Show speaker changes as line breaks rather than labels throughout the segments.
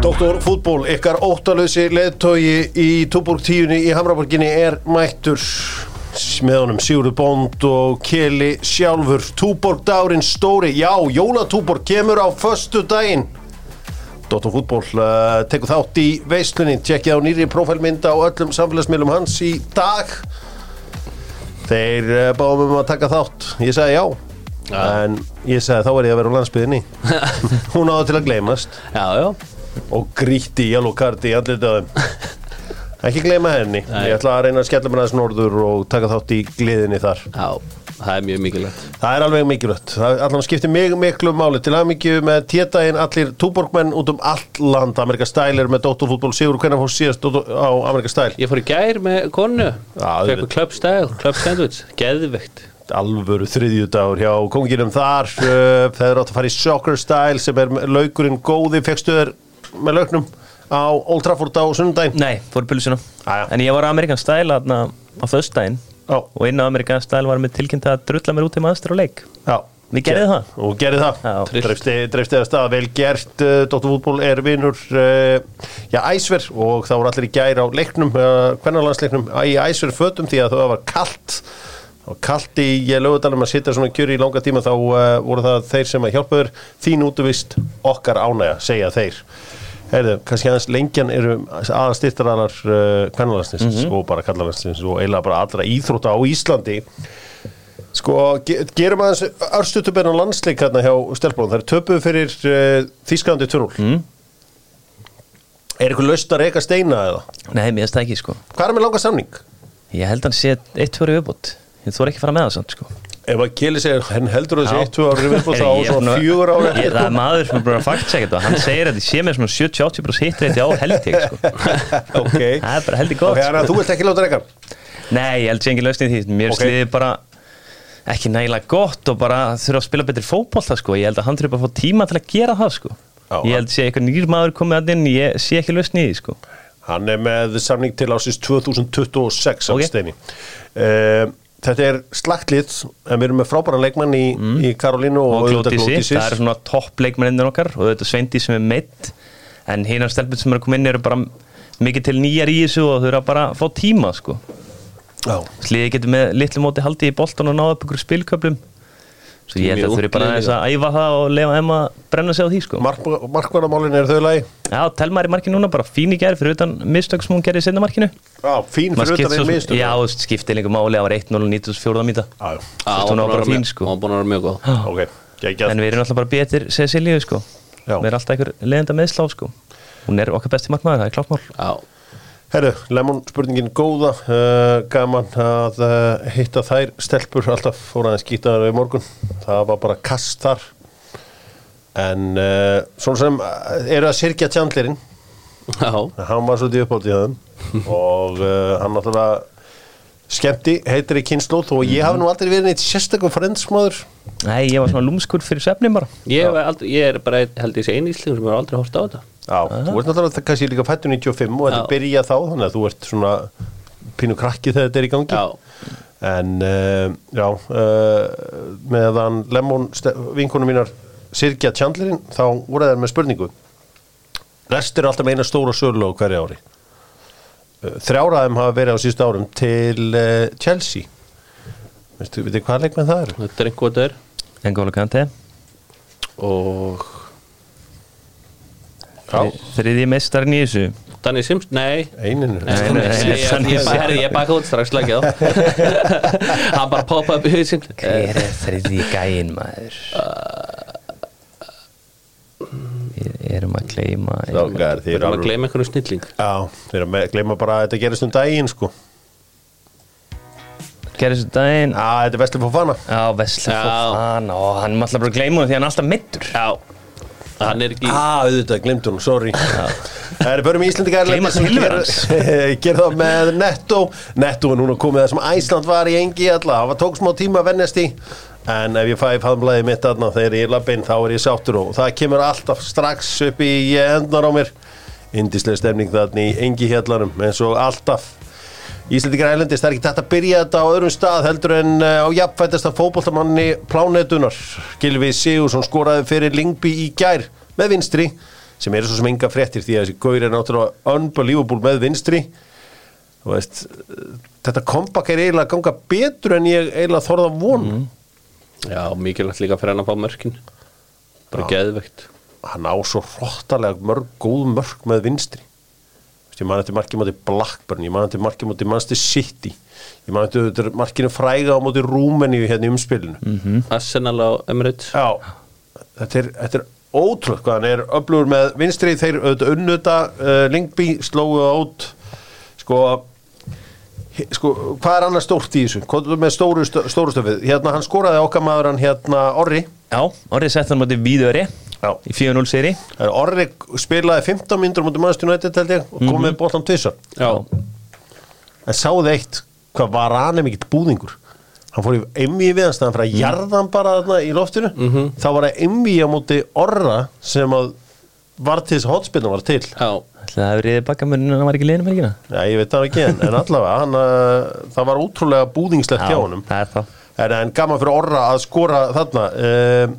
Doktor fútból, ykkar óttalösi leðtogi í Túborg tíunni í Hamraborginni er mættur með honum Sigurður Bónd og Keli sjálfur Túborg dárinn stóri, já, Jólatúborg kemur á föstu daginn Dóttar fútból uh, tekur þátt í veislunin, tjekkið á nýri prófælmynda á öllum samfélagsmiðlum hans í dag Þeir uh, báðum um að taka þátt, ég sagði já En ég sagði þá er ég að vera á landsbyðinni Hún áður til að gleymast
Já, já,
og gríti yellow card í andlitaðum ekki gleyma henni ég ætla að reyna að skella mér aðeins norður og taka þátt í gleðinni þar
já, það er mjög mikilvægt
það er alveg mikilvægt, það er allan skiptir mig miklu máli til aðmyggju með tétaginn allir túborgmenn út um allt land Amerika Style er með Dóttarfútból Sigur hvernig fór síðast Dr. á Amerika Style
Ég fór í gær með konu
auðvitað.
Fekku klöpstæl, klöpstændvits Geðveikt
alvöru þriðjudagur hjá konginum þar uh, þeir átt að fara í Soccer Style sem er með laukurinn góði fekstu þér með lauknum á Old Trafford á sunnudaginn
Nei, fór í pulsuna
Jæja.
En ég var á Amerikan stæl aðna á föstudaginn
Já.
Og inn á Amerikan stæl var mér tilkynnt að drulla mér út um í maður og leik
Já.
Við gerðum það.
Og gerði
Já.
það. Dreifstið að staða vel gert. Uh, Dóttur fútból er vinur uh, já, æsver og þá voru allir í gær á leiknum, uh, hvernarlandsleiknum í æsver fötum því að það var kalt og kalt í lögudalum að sitja svona kjöri í langa tíma þá uh, voru það þeir sem að hjálpa þér. Þín útvist okkar ánægja, segja þeir. Heyrðu, kannski aðeins lengjan eru aðastyrtaralar uh, kvennalansins
Mhm.
og bara kallalansins og eiginlega bara allra íþrótta á Íslandi Sko, ge gerum aðeins örstutubenn á landsleik hérna hjá Stelbrón. Það er töpuð fyrir uh, Þísklandi 2-0.
Mm.
Er ykkur löst að reyka steina eða?
Nei, mér finnst það ekki sko
Hvað er með langa samning?
Ég held hann sé eitt fyrir viðbútt Ég þóra ekki að fara með það samt sko
Ef að Kili segir, henn heldur þessi 1-2 ári viðbútt á
Heyrðu, ég er
svona
búinn að-
fjögur ári
Ég- Það er maður sem er búin að fakta segja þetta Hann segir að ég sé með svona 70-80% hitt reyndi á held ég sko
ok.
Það er bara heldur gott,
Ok, þannig að
sko.
þú vilt ekki láta reyka.
Nei, ég held sé engin lausni í því Mér
Ok.
okay. sliði bara ekki nægilega gott og bara þurfa að spila betri fótbolta sko Ég held að hann þurfa bara að fá tíma til að gera það sko
Já,
Ég held sé eitthvað nýr maður komið að inn Ég sé ekki lausni í því sko
Hann er með samning til ásins 2026
Ok.
okay. steini. Uh, þetta er slagtlið, en við erum með frábæran leikmann í, í Karolínu og,
Mm. og
auðvitað
Glódísi,
Glódísis.
það eru svona topp leikmennindir okkar og þetta Sveindi sem er meitt en hinar stelpun sem eru að koma inn eru bara mikið til nýjar í þessu og þau eru að bara fá tíma sko.
Já.
Sliði getur með litlu móti haldið í boltan og náða upp ykkur spilköplum svo ég held
Mjög
að þau eru bara
líka.
aðeins að æfa það og lefa þeim að brenna sig á því sko.
Mark- Markmannamálin eru þau lagi.
Já, Telma er í markinu núna, bara fín í gær fyrir utan mistök sem hún gerði í setna markinu
Já, fín fyrir
Maður
utan
skiptir
einn
svo-
minnstu.
Já, skiptið lengur máli, það var 1-0 94. mýta
Já,
Já,
Þetta var bara fín,
mjög-
sko.
Hún var búin að vera mjög góð
ok, geggjað
En við erum alltaf bara betur Cecilíu sko
Já.
Við erum alltaf einhver leðenda meðslá sko Hún er okkar besti markmaður, það er klart mál
Já,
Herru, lemon spurningin góða uh, Gaman að uh, hitta þær Stelpur alltaf fór aðeins skýtaðar í morgun Það var bara kast þar En uh, Svona sem uh, eru að sirkja tjandlerinn
já,
Hann var svolítið uppátt í það Og uh, hann náttúrulega Skemmti, heitir í kynnslóð Og ég hafi nú aldrei verið neitt sérstakum frensmaður
Nei, ég var svona lúmskur fyrir svefnin bara
ég, hef aldrei, ég er bara einn- held ég sé einu íslingum sem er aldrei hort á þetta
Já, þú ert náttúrulega það- kannski líka fættur 95 og þetta
Já.
byrja þá, þannig að þú ert svona pínu krakki þegar þetta er í gangi
Já.
en uh, já uh, meðan Lemon vinkunum mínar Sirkja Tjandlirinn þá voru þær með spurningu Rest eru alltaf með eina stóra sörlu á hverju ári Uh, Þrjár af þeim hafa verið á síðustu árum til uh, Chelsea Veistu, veitir hvað leikmenn það eru?
Þetta er einhver þetta er
En góðlega kanti
Og
Já,
Þriði meistarinn í þessu
Danny Sims, nei
eininu
Nei, nei, nei.
Ég- ég- ég- Herri, ég baka út strax slagið á Hann bara poppa upp í hausinn Eh,
er þriði gæinn maður? Við erum að kleima
Strákar, þið eru
Við erum að
alveg
gleyma einhverjum snilling
Já, þeir eru að gleyma bara að þetta gerist um daginn sko
Gerði þessu daginn
Já, þetta er vestlið fór fana
Á, Vesli
Já.
Fofana Og hann er alltaf bara að gleyma hún því hann er alltaf mittur
Já, hann er ekki
Ah, auðvitað, glemt hún, sorry Það er börum í Íslandi gæri
Gleyma silfur hans.
Gerð það með Netto Netto er núna komið það sem Æsland var í engi alla Það var tók smá tíma að vennast í En ef ég fæ faðumlæði mitt aðna þegar ég er labbinn þá er ég sáttur og það kemur alltaf strax upp í endnar á mér Indislega stemning þarna í engi hjallanum eins og alltaf Íslendingar ælendist, það er ekki tætt að byrja þetta á öðrum stað heldur en eh, á jafnfættasta fótboltamanni plánetunar. Gilvi Sigursson skoraði fyrir Lingby í gær með vinstri sem eru svo sem enga fréttir því að þessi gaur er náttúrulega unbelievable með vinstri þú veist, eh, þetta kompakk er eiginlega að ganga betur en ég eiginlega þorða von
Já, mikilvægt líka fyrir hann að fá mörkin Bara geðveikt
hann á svo hróttalega mörg, góð mörg með vinstri Þú veist, ég man eftir markið móti Blackburn, ég man eftir markið móti Manchester City, ég man eftir- eftir markinu fræga á móti Rúmeníu hérna í umspilinu
Mhm.
Hmm?
Arsenal á Emirates
Já, þetta er, þetta er ótrúð hvað hann er öflugur með vinstri þeir auðvitað unnuta uh, Lingby slóðu það út sko, hi- sko hvað er annars stórt í þessu? Hvað er með stóru, stö- stóru stöfið? Hérna hann skoraði okkar maður hann hérna Orri
Já, orðið sett hann mútið Víðöri
Já.
í 4-0 seri
En Orri spilaði 15 mínútur mútið mannstu nættið held ég og
Mhm.
komið mm -hmm. bóttan tvisa
Já,
en sáðu eitt hvað var hann er mikill búðingur hann fór í emmi við hans þannig að
Mhm.
mm. jarða hann bara þarna í loftinu þá var það emmi á móti orra sem að var til þess að hotspinna var til
já,
Það hefur riðið bakka munn en hann var ekki liðinu merkina
Já, ég veit það ekki en, en allavega hann, uh, það var útrúlega búðingslegt hjá honum
það er það
en, en gaman fyrir orra að skora þarna um,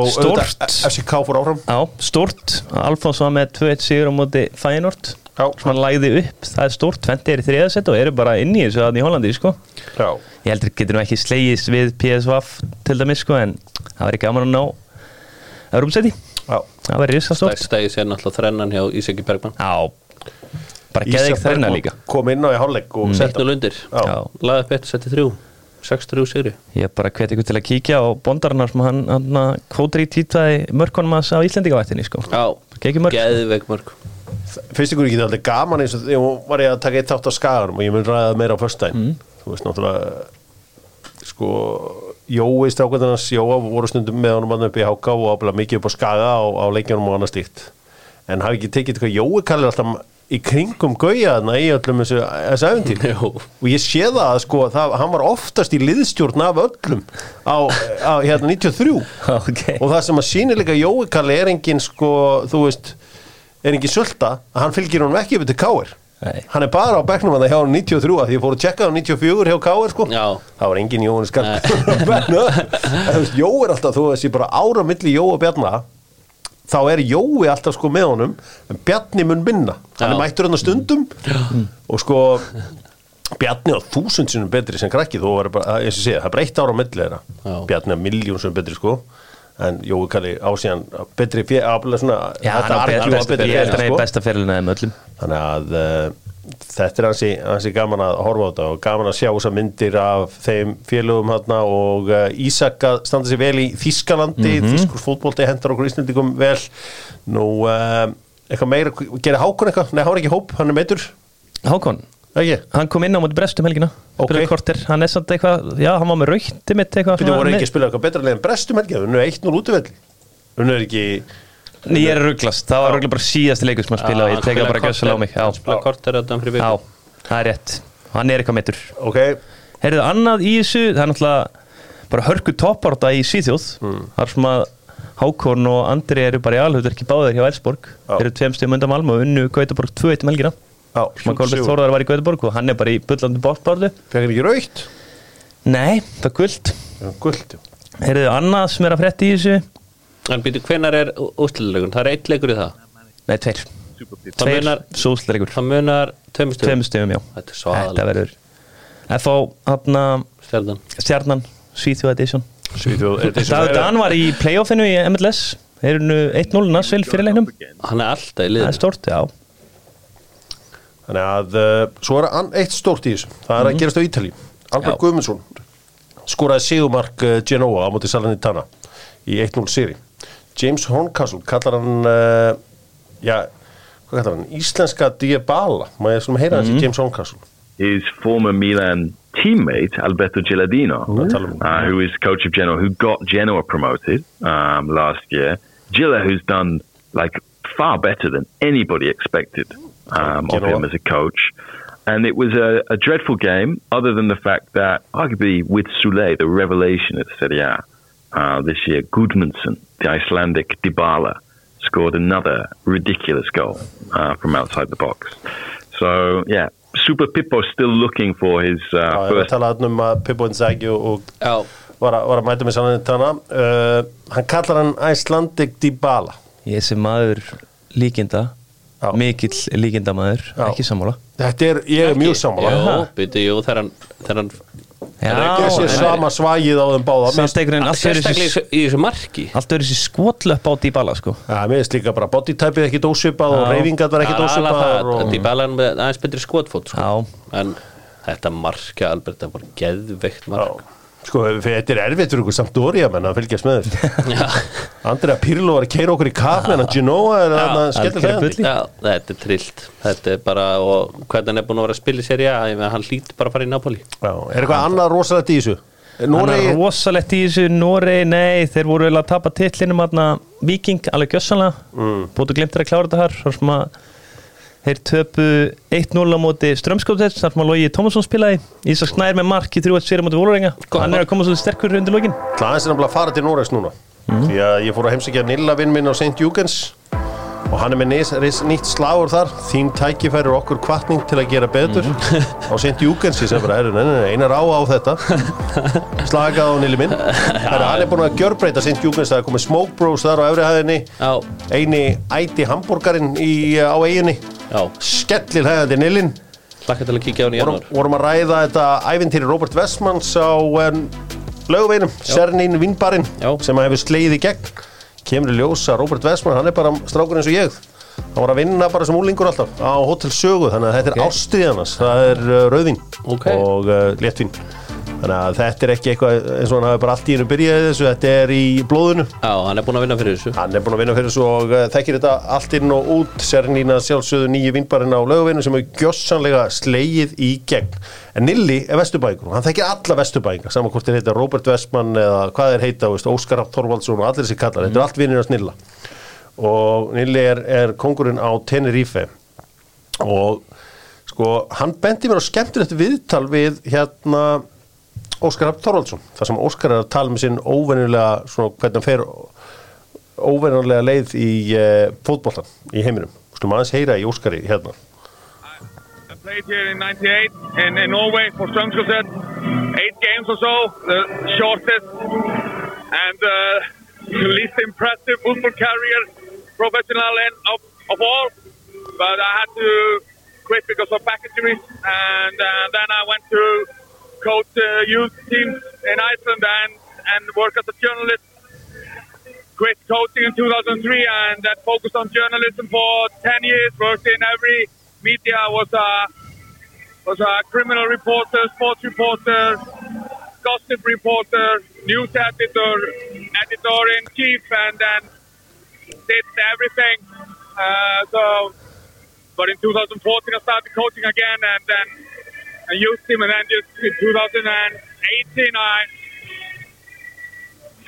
og
Stórt.
auðvitað, FCK fór áfram
Já, stórt, Alfons var með 2-1 sigur á móti Feyenoord
Já.
sem hann læði upp, það er stórt, Tventi er í þriðasett og eru bara inn í þessu þannig í Hollandi sko.
Já.
Ég heldur getur nú ekki slegist við PSV til dæmis sko, en það væri gaman að ná Örumsæti,
Já.
það væri riska stórt
stæði sér náttúrulega þrennan hjá Ísaki Bergman
Já, bara geði
Ísak
ekki þrenna
Bergman
líka
kom inn á í hálfleik og mm. sett
1-0 undir,
Já.
Já.
laði upp 1-73 6-3 sigri
Ég bara hveti ykkur til að kíkja á bondarinnar sem hann, hann kótri títlaði mörkunum hans á Íslendingavættinni sko.
Já,
Gekki mörk.
geðveik mörk
fyrst ykkur ekki alltaf gaman eins og þegar hún var ég að taka eitt þátt á skaganum og ég mun ræða það meira á föstudaginn þú veist náttúrulega sko Jói strákvæðarnas Jóa voru stundum með honum mann upp í háka og ábæða mikið upp á skaga á, á leikjunum og annað slíkt en hafi ekki tekið hvað Jói kallir alltaf í kringum gaujaðna í öllum þessu, þessu æfintýr
Jú.
og ég sé það að sko það, hann var oftast í liðstjórn af öllum á, á hérna 93
okay.
og það sem að sínilega Jói Kalli er engin sko, þú veist er engin sulta, að hann fylgir honum ekki yfir til Káir
Nei.
hann er bara á bekknum að það hjá honum 93 að því ég fór að tjekka á 94 hjá Káir sko.
Já.
það var engin Jóhannes Garg Jói er alltaf, þú veist, ég bara ára á milli Jói og Bjarna þá er Jói alltaf sko með honum en Bjarni mun minna, hann
Já.
er mættur hann á stundum og sko Bjarni á þúsund sinum betri sem krakki þó var bara, eins og segja, það er breytt ára á milli þeirra
Já.
Bjarni á miljón sem betri sko en Jói Kalli ásíðan betri fjö, aflega svona
Já,
þetta
hann á
argjúa
best- best-
betri
ég held að hann
sko.
er besta fyrirlina þeim öllum
þannig að uh, þetta er hansi, hansi gaman að horfa á þetta og gaman að sjá þessar myndir af þeim félögum hérna og uh, Ísak að standa sér vel í Þískalandi
Mhm.
mm Þískur fótbolti hendur okkur Íslandingum vel nú uh, eitthvað meira, gerir Hákon eitthvað? Nei, hann er ekki í hóp, hann er meitur
Hákon,
ekki?
hann kom inn á móti brestum helgina
Ok.
okay. kortir, hann er samt eitthvað já, hann var með rauti mitt eitthvað
Býtum
svona
voru
með-
ekki að spila eitthvað betra leginn Brestum helgi, hún er 1-0 útivelli hún er ekki
Nei, ég er að rugglast, það var rugglast bara síðasti leikur sem hann spilaði, ég tek það bara gjössalega á mig
Hann
já.
spila korter að fyrir
já,
viku
það er rétt, hann er eitthvað mittur
ok,
Heyrðu, annað í þessu, það er náttúrulega bara hörku topparta í Svíþjóð þar sem að Hákon og Andri eru bara í alhugverki báðir hjá Elsborg
Já.
eru tveim stegum undan Malmö og unnu Gautaborg 2-1 um helgina
já,
sem að Kolbjörn Þórðar var í Gautaborg og hann er bara í bullandi bóttbárðu
Fekir ekki raukt?
Nei, það er guld
Já, Gult, já
Heyrðu, annað sem er að frétta í þessu
En býtu, hvenar er úsliðleikurinn? Það er eitt leikur í það
Nei, tveir
Það
Tveir
munar-
súsleikur
Það munar tveimstöðum
Tveim stegum, já
Þetta er svaðalegt.
Þetta verður F.O. hann
Stjarnan
stjarnan Svíþjóð Edition
Svíþjóð, er þetta
David Dan var í playoffinu í MLS Þeir eru nú 1-0 Nassvill fyrir leiknum
Hann er alltaf í
Það er
liðinu
stort, já
Þannig að uh, svo er an, eitt stórt í þessu Það er að gerast á Ítali Albert
Já.
Guðmundsson skoraði sigumark uh, Genoa á móti Salernitana í 1-0 seri James Horncastle kallar hann uh, já, hvað kallar hann? Íslenska Diabala Má ég svona heyra hans í James Horncastle
his former Milan teammate Alberto Gilardino,
Ooh.
uh, who is coach of Genoa, who got Genoa promoted um, last year. Gilla, who's done like far better than anybody expected um, of
Genoa.
him as a coach. And it was a, a dreadful game, other than the fact that arguably with Sule, the revelation at Serie A uh, this year, Gudmundsson, the Icelandic Dybala, scored another ridiculous goal uh, from outside the box. So, yeah, Super Pippo's still looking for his uh,
Já, ég var að
first
tala hann um að Pippo Inzaghi og, og
Já,
var, að, var að mæta Eh, með Salernitana uh, Hann kallar hann Icelandic Dybala
Ég sem maður líkinda
Já.
mikill líkindamaður,
Já.
ekki sammála
Þetta er, ég er mjög sammála
Jú, byrju, jú, þegar hann þegar hann
Já,
Ég sé
en-
sama svægið á þeim báða Mér-
samt einhvern veginn allt verið
Sérstaklega í
þessi
þessu- í þessu marki
allt verið þessi skotlöpp á Dybala sko
Já, mér finnst líka bara bodytypið ekki dósipað og
Já.
reyfingat var ekki
Það er alveg
dósipað
það,
og...
Dybala er með aðeins betri skotfót sko.
Já.
En þetta marka Albert, það var geðveikt
Já.
mark
Sko, þetta er erfitt fyrir ykkur samt dóri að menna að fylgjast með þessu
Já,
Andrea Pirlo var að keira okkur í kap meðan Genoa er að skella
algjör bull.
þegar
Já, þetta er trillt Þetta er bara, og hvernig hann er búin að vera að spila í seri A ég meina, Hann hlýtur bara að fara í Napoli
Já, er eitthvað annað rosalegt í þessu?
Hann er
Noregi,
rosalegt í þessu, Norei, nei, þeir voru eiginlega að tapa titlinum aðna Viking, alveg gjössanlega, mm. bótu glemtir að klára þetta þar, þar sem að þeir töpu 1-0 á móti Strömskóptets, þar sem að Logi Tómasson spilaði, Ísak Snær með mark í 3-1 fyrir móti Vólurenga,
Gott
hann er að koma svolítið sterkur undir lokin.
aðeins er nefnilega að fara til Noregs núna Því að ég fór að heimsækja Nilla vinn minn á St. Júgens Og hann er með nis, ris, nýtt slagur þar Þín tækifæri er okkur kvartning til að gera betur Á St. Júgens Ég sem bara, "Heyrðu, nei, nei, nei, einar á á þetta Slagað á Nilli minn Heru, Hann er búin að gjörbreyta St. Júgens Það er komið Smoke Bros þar á efrihæðinni
Já,
Eini æti hambúrgarinn í- á eiginni
já,
Skellir hæðandi Nillin
lakka til að kíkja á hann í
vorum,
janúar
vorum að ræða þetta ævintýri Robert Westmans á um, löguveinum, Sernín Vínbarinn
Já.
sem hefur sleið í gegn kemur í ljós að Robert Westman, hann er bara strákur eins og ég hann var að vinna bara sem úlingur alltaf á Hotel Sögu, þannig að þetta er okay. ástriðanas það er uh, rauðvín
Ok.
og uh, léttvín þannig að þetta er ekki eitthvað eins og hann hafi bara allt í hennu byrjaði þessu, þetta er í blóðinu
Já, hann er búin að vinna fyrir þessu
Hann er búinn að vinna fyrir þessu og uh, þekkir þetta allt inn og út Sernína sjálfsögðu nýju vinnbarinn á lögavinu sem er gjössanlega slegið í gegn En Nilli er vesturbækur og hann þekkir alla vesturbækinga saman hvort þeir heita Robert Westman eða hvað þeir heita, veist, Óskar Rapp Þorvaldsson og allir þessi kallar, þetta er allt vinnir hans Nilla og Nilli er, er kongurinn á Tenerife og sko, hann bendi mér á skemmtilegt viðtal við hérna Óskar Rapp Þorvaldsson þar sem Óskar er að tala með sinn óvenjulega svona hvernig hann fer óvenjulega leið í uh, fótboltan í heiminum. Skulum aðeins heyra í Óskari hérna.
I played here in 98 in, in Norway for Strømsgodset. Eight games or so, the shortest and uh, least impressive football career, professional and of, of all. But I had to quit because of back injuries. And uh, then I went to coach uh, youth teams in Iceland and, and work as a journalist quit coaching in 2003 and then focused on journalism for 10 years. Worked in every media. Was a was a criminal reporter, sports reporter, gossip reporter, news editor, editor in chief, and then did everything. Uh, so, but in 2014 I started coaching again, and then I used him, and then just in 2018 I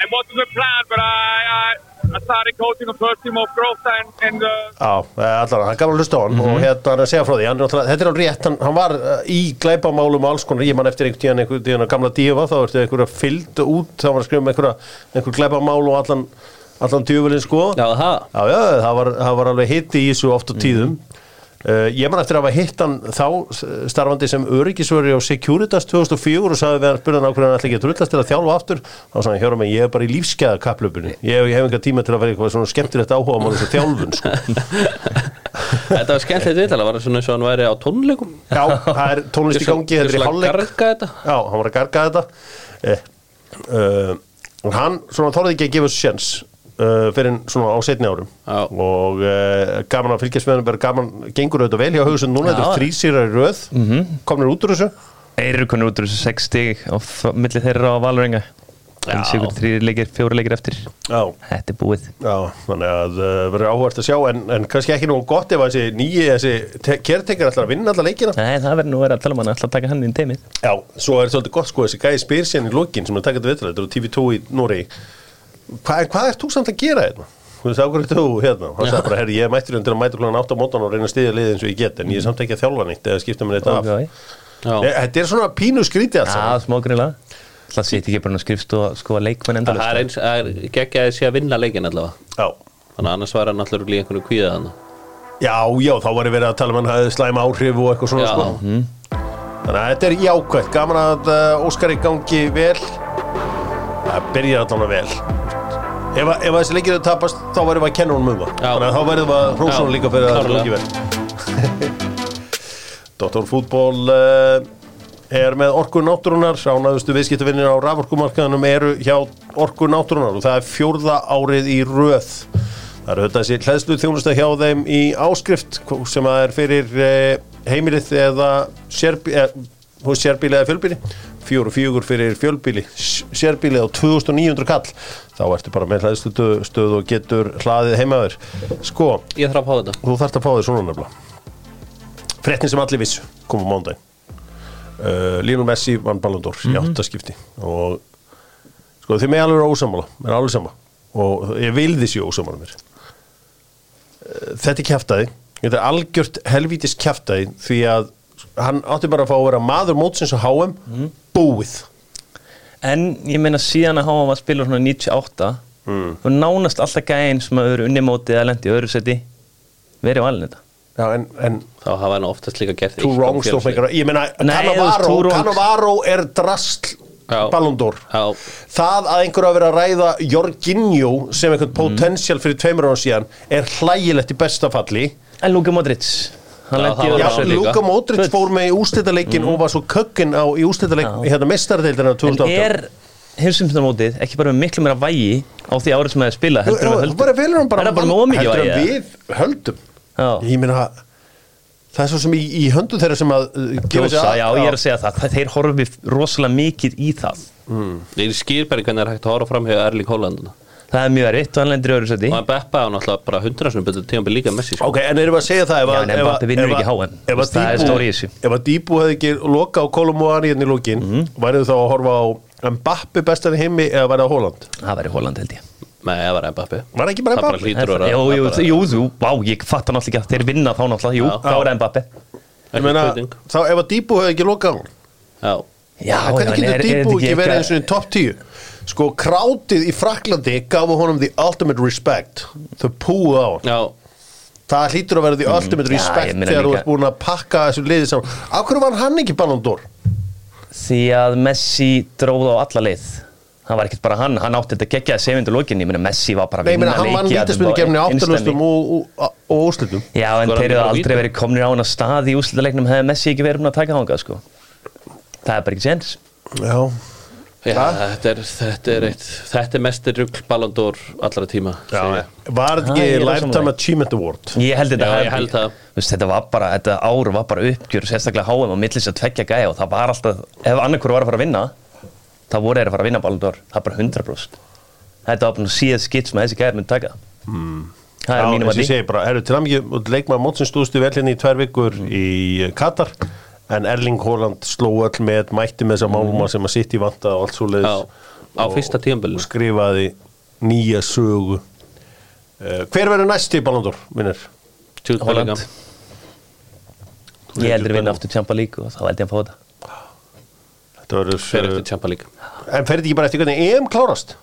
it wasn't the plan, but I, I, I started coaching the first team of Grossa and, and uh,
Já, eh, allan, hann gaf að hlusta á hann og hérna hann er að segja frá því, hann, er náttúrulega- þetta er alveg rétt, hann, hann var eh, í glæpamálum og alls konar, ég man eftir einhvern tíðan einhvern tíðan gamla dífa, þá ertu einhverja fylgd út, þá var að skrifa um einhverja, einhver glæpamál og allan, allan djöfulinn sko.
Já, það
Já, já, það var, það var alveg hitti í þessu oft og tíðum. Uh, ég man eftir að hafa hitt hann þá s- starfandi sem öryggisvöri á Securitas 2004 og sagði við hann spurði hann á hverju hann ætla ekki að trullast til að þjálfa aftur þá sagði hann, hjóra mig, ég er bara í lífskeiða kapplöpunni ég, hef- ég hef enga tíma til að vera eitthvað svona skemmtilegt áhuga mál þessu þjálfun sko.
Þetta var skemmtilegt viðtal, það var svona eins og hann væri á tónleikum
já, það er tónlist í gangi, þetta er í hálfleik
Garga þetta
Já, hann var að garga þetta eh, uh, og hann svona þorði ekki að gefa þessu sjens uh, fyrir svona á setni árum
Já.
og uh, gaman að fylgjast með hann bara gaman, gengur auðvitað vel hjá hugsun núna þetta er þrísýrar í röð, komnir út úr þessu
Þeir eru konur út úr þessu 6 stig og þ- milli þeirra á Valrenga en
Já.
sigur 3 leikir, 4 leikir eftir
Já,
Þetta er búið
já þannig að uh, verður áhvert að sjá en, en kannski ekki nú gott ef að þessi nýji þessi kertekar alltaf að vinna alltaf leikina
Nei, það verður nú að vera að tala um hann, alltaf taka hann inn í teimið
Já, svo er svolítið gott sko þessi gæði spyr sérn í lokin sem er að taka þetta viðtalið, þetta er á TV2 í Núri Hva, Hvað ert þú samt að gera hérna? Þú veist, ákvörðu þú hérna Hann sagði bara, herri, ég er mættur um til að mæta klokkan 8 á mótan og reyna að styðja liðið eins og ég get en ég er samt ekki að þjálfa nýtt eða skipta mér þetta af
Ok.
E-
Já,
Þetta er svona pínu skrítið alls
Já, smá grilla Það sýtti ekki bara að skrifst og skoða leikmenn
það er
endalist
eins, það er geggjaði sé að vinna leikin allavega
Já,
Þannig að annars var hann alltaf líka einhvern kvíða hann
já, já, þá var ég verið að tala um hann hafði slæm áhrif og eitthvað svona
Já.
sko. Þannig að þetta er jákvæmt, eh, gaman að uh, Óskari gangi vel Það byrjar allan vel Ef, að- ef að þessi leikir eru tapast, þá verðum við að kenna honum um það.
Já.
Þannig að þá verðum við að hrósa
Já,
honum líka fyrir að það er
klárlega.
ekki verið. Dr. Fútból uh, er með Orku Náttúrunar. Ánaðustu viðskiptavinnir á raforkumarkaðanum eru hjá Orku Náttúrunar og það er fjórða árið í röð. Það eru auðvitað þessi hlæðslu þjónusta hjá þeim í áskrift hvo- sem að er fyrir eh, heimilið eða sérbí, eh, hús sérbíli eða fjölbíli. Fjóru fjögur fyrir fjölbíli, s- sérbíli á 2900 kall. Þá ertu bara með hlæðslu stöð og getur hlaðið heimaður. Sko,
Ég þarf að fá þetta
þú þarft að fá þér svona nefnilega frettin sem allir vissu kom á mándaginn uh, Lionel Messi vann Ballon d'Or í áttaskipti og sko þið með alveg eru ósamála mér er alveg sama og ég vil þessi ósamála mér uh, þetta er kjaftaði þetta er algjört helvítis kjaftaði því að hann átti bara að fá að vera maður mótsins á HM búið
sko. En ég meina síðan að háa var að spila svona 98
Hmm.
mm. og nánast alltaf gæðin sem að vera unni mótið að lendi öðru seti verið valin þetta
Já, en, en
Þá hafa hann oftast líka gert
two
illt á
wrongs don't
félagsleik.
make a right ég meina
Nei, þú
Cannavaro
veist, two wrongs.
Cannavaro er drastl
Já.
Ballon d'Or
Já.
Það að einhverja að vera að ræða Jorginho sem einhvern
Mhm.
potensial fyrir tveimur án síðan er hlægilegt í besta falli
En Luka Modric
Já,
Hann
það
lendi
var
öðru
Já,
alveg
seti
líka.
Luka Modric fór með í ústættaleikin og var svo kökkinn á í ústættaleik
Mhm. Já.
hérna mestardeildina
En
2008
er heimsumstæðamótið ekki bara með miklu meira vægi á því árið sem það er spilað heldur en við
Þú
höldum?
bara velur hann bara
Er það bara
mann-
með ómikið
heldur
vægi
hann
eða?
við höldum
Já.
Ég meina það er svo sem í, í höndum þeirra sem að uh, gefa sig
Kjósa,
að-
já, ég er að segja það, það þeir horfi rosalega mikið í það
Ég skil bara ekki hvernig er hægt að horfa fram hjá Erling Haaland
Eh?
Og
það er mjög erfitt og hann lendir í öðru seti
hann Beppa á náttúrulega bara hundrasunum betur tíma líka Messi sko.
Ok, en erum við að segja það ef
Já,
að-
en
ef að-
Mbappé vinnur
ef að-
ekki HM.
ef að
Það er
Dybú-
stóri í þessu.
Ef að Díbu hefði ekki loka á Kolum og Ani hérna í lókin
Mhm.
værið þá að horfa á Mbappi bestan í heimi eða værið á Holland
það væri Holland held ég
Nei, það var Mbappi
Var ekki bara
Það bara
Mbappé?
hlýtur að vera-
jú, jú,
það bara-
jú, jú, vá, ég fatta náttúrulega ekki að þeir vinna þá náttúrulega, jú,
Já.
þá er það Mbappe
Ég
Ekki
meina,
spurning.
þá ef að Díbu hefði ekki lokað á hann
Já,
já,
Hvernig
en
getur
er- er
Díbu
þetta
ekki verið eins og í
eitthvað-
top 10? Sko, krátið í Fraklandi gafu honum the ultimate respect þau púið á hann
já,
Það hlýtur að vera the ultimate
Mm. Já, ég
respect
meina
þegar þú
líka-
ert búin að pakka þessu liði saman Af hverju var hann ekki Ballon d'Or?
því að Messi dróð á alla leið það var ekkert bara hann, hann átti þetta geggjaði sefindu lokin, ég meina Messi var bara að
Nei, ég meina,
vinna
hann vann
leiki, þetta
vítaspinni
var
kemni
einsdæmi.
áttalöstum og, og, og úrslitum
já, en
Skoraði
þeir eru
bara á víti.
aldrei verið komnir á hann að stað í úslitaleiknum hefði Messi ekki verið búin að taka þangað, sko það er bara ekki séns
Já,
já þetta, er, þetta er eitt Þetta er mestir rugl Ballon d'Or allra tíma segi ég.
Var þetta
Ah, ég
ekki
er á
Lifetime
sammála.
Achievement Award?
Ég held þetta
Já,
hafi-
ég held það.
Þú veist, Þetta var bara, þetta ár var bara uppgjör sérstaklega háum á millis að tvekja gæja og það var alltaf, ef annarkur var að fara að vinna þá voru þeir að fara að vinna Baldur það er bara 100% Þetta var bara síðan skitt sem að þessi gæjar myndi taka mm. Það er
Já,
mínum
eins og
að
ég
því
segi bara, eru til aðmikið leikmaður mótsins stúðstu velinni hérna í tvær vikur í Katar en Erling Haaland sló öll með mætti með þessa
Mhm.
málma sem að sitt í vanta og allt svo leiðis
Já, á fyrsta tímabilinu.
og skrifaði nýja sögu uh, Hver verður næst í Ballandur, vinnir?
Jude
Holland.
Bellingham.
Ég heldur að vinna aftur tjampa lík og þá held ég að fá þetta
Þetta
Fer
verður, eh,
eftir Champa League
en fer þetta ekki bara eftir hvernig EM klárast?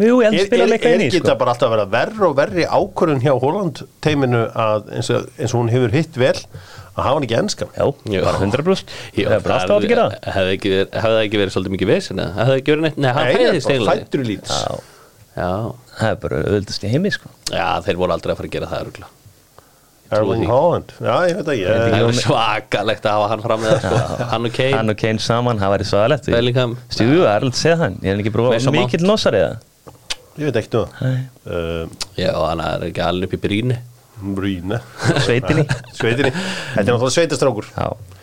Jú,
Er,
ég heldur að
er,
spila leika
er
inn í
geta
sko.
bara alltaf að vera verri og verri ákvörðun hjá Holland teiminu að eins og, eins og hún hefur hitt vel að hafa hann ekki enskan
Já, bara 100%
Jó,
Það er bara alltaf átt að gera það
hefði ekki, verið- hefði það ekki verið svolítið mikið vesen eða? Hefði það ekki verið neitt Nei, hann fæðist eiginlega
fættur í lít
Já,
Já,
Það er bara auðvitað í heimi sko.
já, þeir voru aldrei að fara að gera það rugla
Eh,
Erling Haaland, já ég veit að
Það
ég
er svakalegt að hafa hann fram með það sko. Hann og Kane,
Hann og Kane saman, það væri svaðalegt
Bellingham.
Stjú, það er alveg að segja það Ég er ekki
Mason
bróð
Mount.
Mikill nosari það
ég veit ekkert um
Nei.
það um,
Já, hann er ekki alveg upp í bríni
Brýna
Sveitinni.
Sveitinni, þetta er náttúrulega sveitastrákur
Já,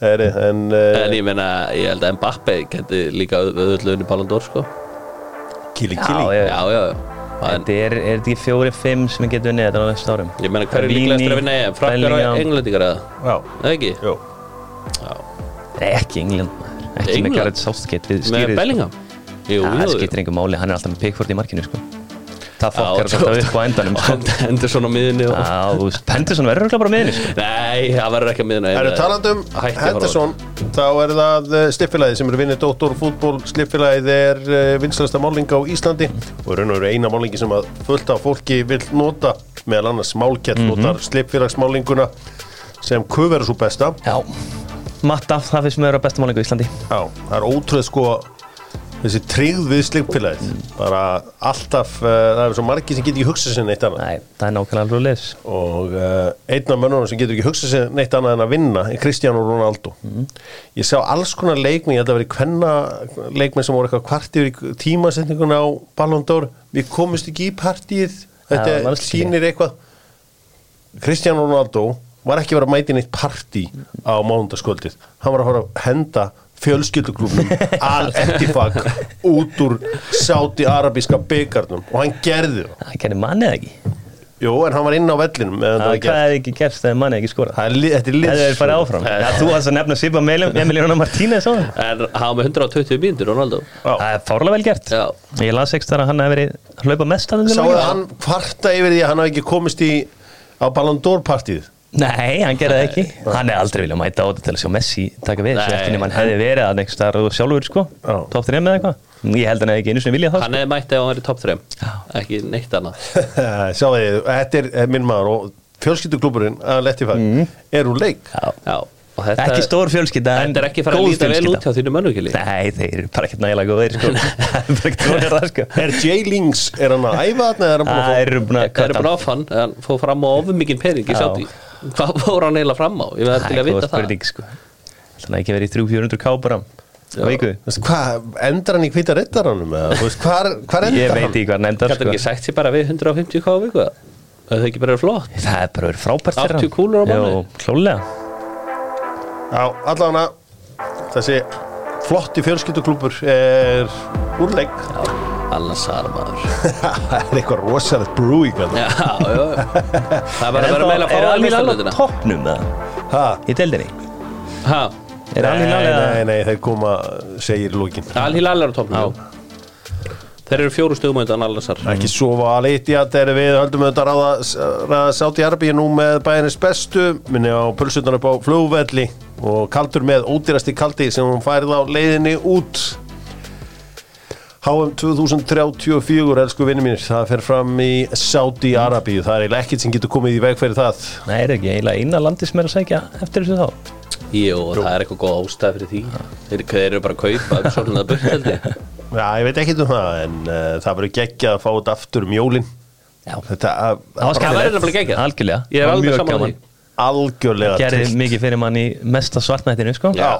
Heri, en,
En
Eh.
uh,
ég meina, ég held að Mbappe geti líka auðvöldlunni Ballon d'Or sko.
Kili
já,
Kili
Já,
já,
já, já En
Þetta er, er þetta ekki fjóri, fimm sem við getum unnið þetta á næstu árum?
Ég meina, hver er
Vini,
líklegastur að vinna EM? Frakkar og
Bellingham.
Englendingar eða?
Já,
Eða ekki?
já
Nei, ekki England. maður. Ekki
England?
með Gareth Southgate við
Með
stýrið.
Bellingham? Jú,
Já, það
jú, jú
skiptir engum máli, hann er alltaf með Pickford í markinu, sko.
Já,
Það fokkar
svo-
þetta upp á endanum, sko. Ah.
Hann Hendur svona á miðinni og...
Já, þú veist, Henderson verður örugglega bara með henni, sko.
Nei, það verður ekki að miðinni
Það eru talandum
Hætti að horfa á
Henderson, þá er það slippfélagið sem eru vinnið Dóttor fútból slippfélagið er vinslasta máling á Íslandi og er raun og veru eina málingi sem að fullt af fólki vil nota meðal annars málkjall
Mhm.
notar slippfélagsmálinguna sem kuð verður svo besta
Já. Matt Duff, það finnst mér að vera besta málingu í Íslandi.
Já, það er ótrúð sko þessi tryggð við slíkfélagið bara alltaf, uh, það er svo margi sem getur ekki hugsað sér neitt annað
Nei, það er nákvæmlega alveg leis
og uh, einn af mönnunum sem getur ekki hugsað sér neitt annað en að vinna er Cristiano Ronaldo
Mhm.
ég sá alls konar leikmi, ég held að verið kvenna leikmi sem voru eitthvað kvart yfir tímasetninguna á Ballon d'Or við komumst ekki í partíið
Já,
þetta
mannstu ekki.
sýnir eitthvað Cristiano Ronaldo var ekki að vera að mæta í neitt partí á mánundaskvöldið hann var að fara að henda fjölskylduklubnum al-Etifak út úr sáti-arabíska byggarnum og hann gerði það
Það kennir mannið ekki
Jú, en hann var inn á vellinum meðan
Það
það var
er
gert.
hvað er ekki gerst þegar mannið ekki skora
Það er lið- Þetta er lið
Það er farið áfram Já, Þú hans að nefna Sipa Emiliano Martínez á það
En hann var með 120 mínútur Ronaldo
Það er fárlega vel gert
Já.
Ég las ekki þar að hann hefði verið að hlaupa mest að þessu
Sáðu
leik.
hann kvarta yfir því að hann hafi ekki komist í á Ballon d'Or partíð
Nei, hann gerði það ekki Hann er aldrei viljað mæta á þetta til að sjá Messi taka við
Nei.
þessu eftir nema hann hefði verið að next þar og sjálfur sko
Já.
Top 3 með eitthvað Ég held hann hefði ekki einu sinni viljað það
Hann
sko.
hefði mætt ef hann verið top 3 Ekki neitt annað
Sáðu því, þetta er eh, minn maður og fjölskylduklúburinn að Lettifag
Mhm.
er úr leik
Já og þetta-
Ekki stór fjölskylda en
Þetta er ekki fara
góð
að líta vel
fjölskylda.
út hjá þínu mönnugili
Nei, þeir eru bara ekkert nægilega góðir sko Það er bara ekkert góðir það sko
Er Jay Lings, er hann að æfa þarna eða er hann búin að
Það
fá
eru búin að
Það er bara áf hann Hann fóð fram á ofur mikinn pening í
Já.
sátti Hvað fór hann eiginlega fram á? Ég verði til að vita það
spurning sko Þannig að ekki verið í 300-400 ká bara á viku
Veistu, Hvað, endar hann í hvita reddaranum eða, þú veist, hvar, hvar
Ég
endar
veit
hann?
ekki hvað hann endar
Gæti
sko
hann ekki sagt sér bara við 150 hvað á viku eða? Það er ekki bara flott
Það er bara verið frábært
80 kúlur á mánuði.
Jó, klálega
Já, allavega þessi flotti fjölskylduklúbur er úr leik
Allan sarmaður
Það er eitthvað rosalegt brúi
Já, já, já Það er bara að
Er
vera meila að fá það
það alveg alveg
listalutina
toppnum eða?
Hæ?
Í deildinni?
Ha,
Er
Nei,
alveg alveg
nei, nei, þeir koma, segir lókin
Al-Hilal er á topnum Þeir eru fjóru stugum undan Al-Nassar
ekki sofa að liti að þegar við höldum auðvitað ráða, ráða sátt í Arbíu nú með bæjarins bestu minni á pulsutan upp á flugvelli og kaldur með ódýrasti kaldi sem hún færið á leiðinni út HM 2034, elsku vinni mínir, það fer fram í Sáti Arabíu, það er eiginlega ekkert sem getur komið í veg fyrir það.
Nei, er ekki eiginlega eina landi sem er að segja eftir þessu þá
Jú, og það er eitthvað góð ástæð fyrir því Þeir, þeir eru bara að kaupa Svona það burteldi
Já, ég veit ekkert um það, en uh, það verður geggja að fá þetta aftur um jólin.
Já.
Þetta að,
var skemmtilegt. væri nefnilega geggjað.
Algjörlega
Ég er
Það var
alveg
mjög
saman
gaman.
því
algjörlega
Gerði
tryllt.
mikið fyrir mann í mesta svartnættinu sko
Já,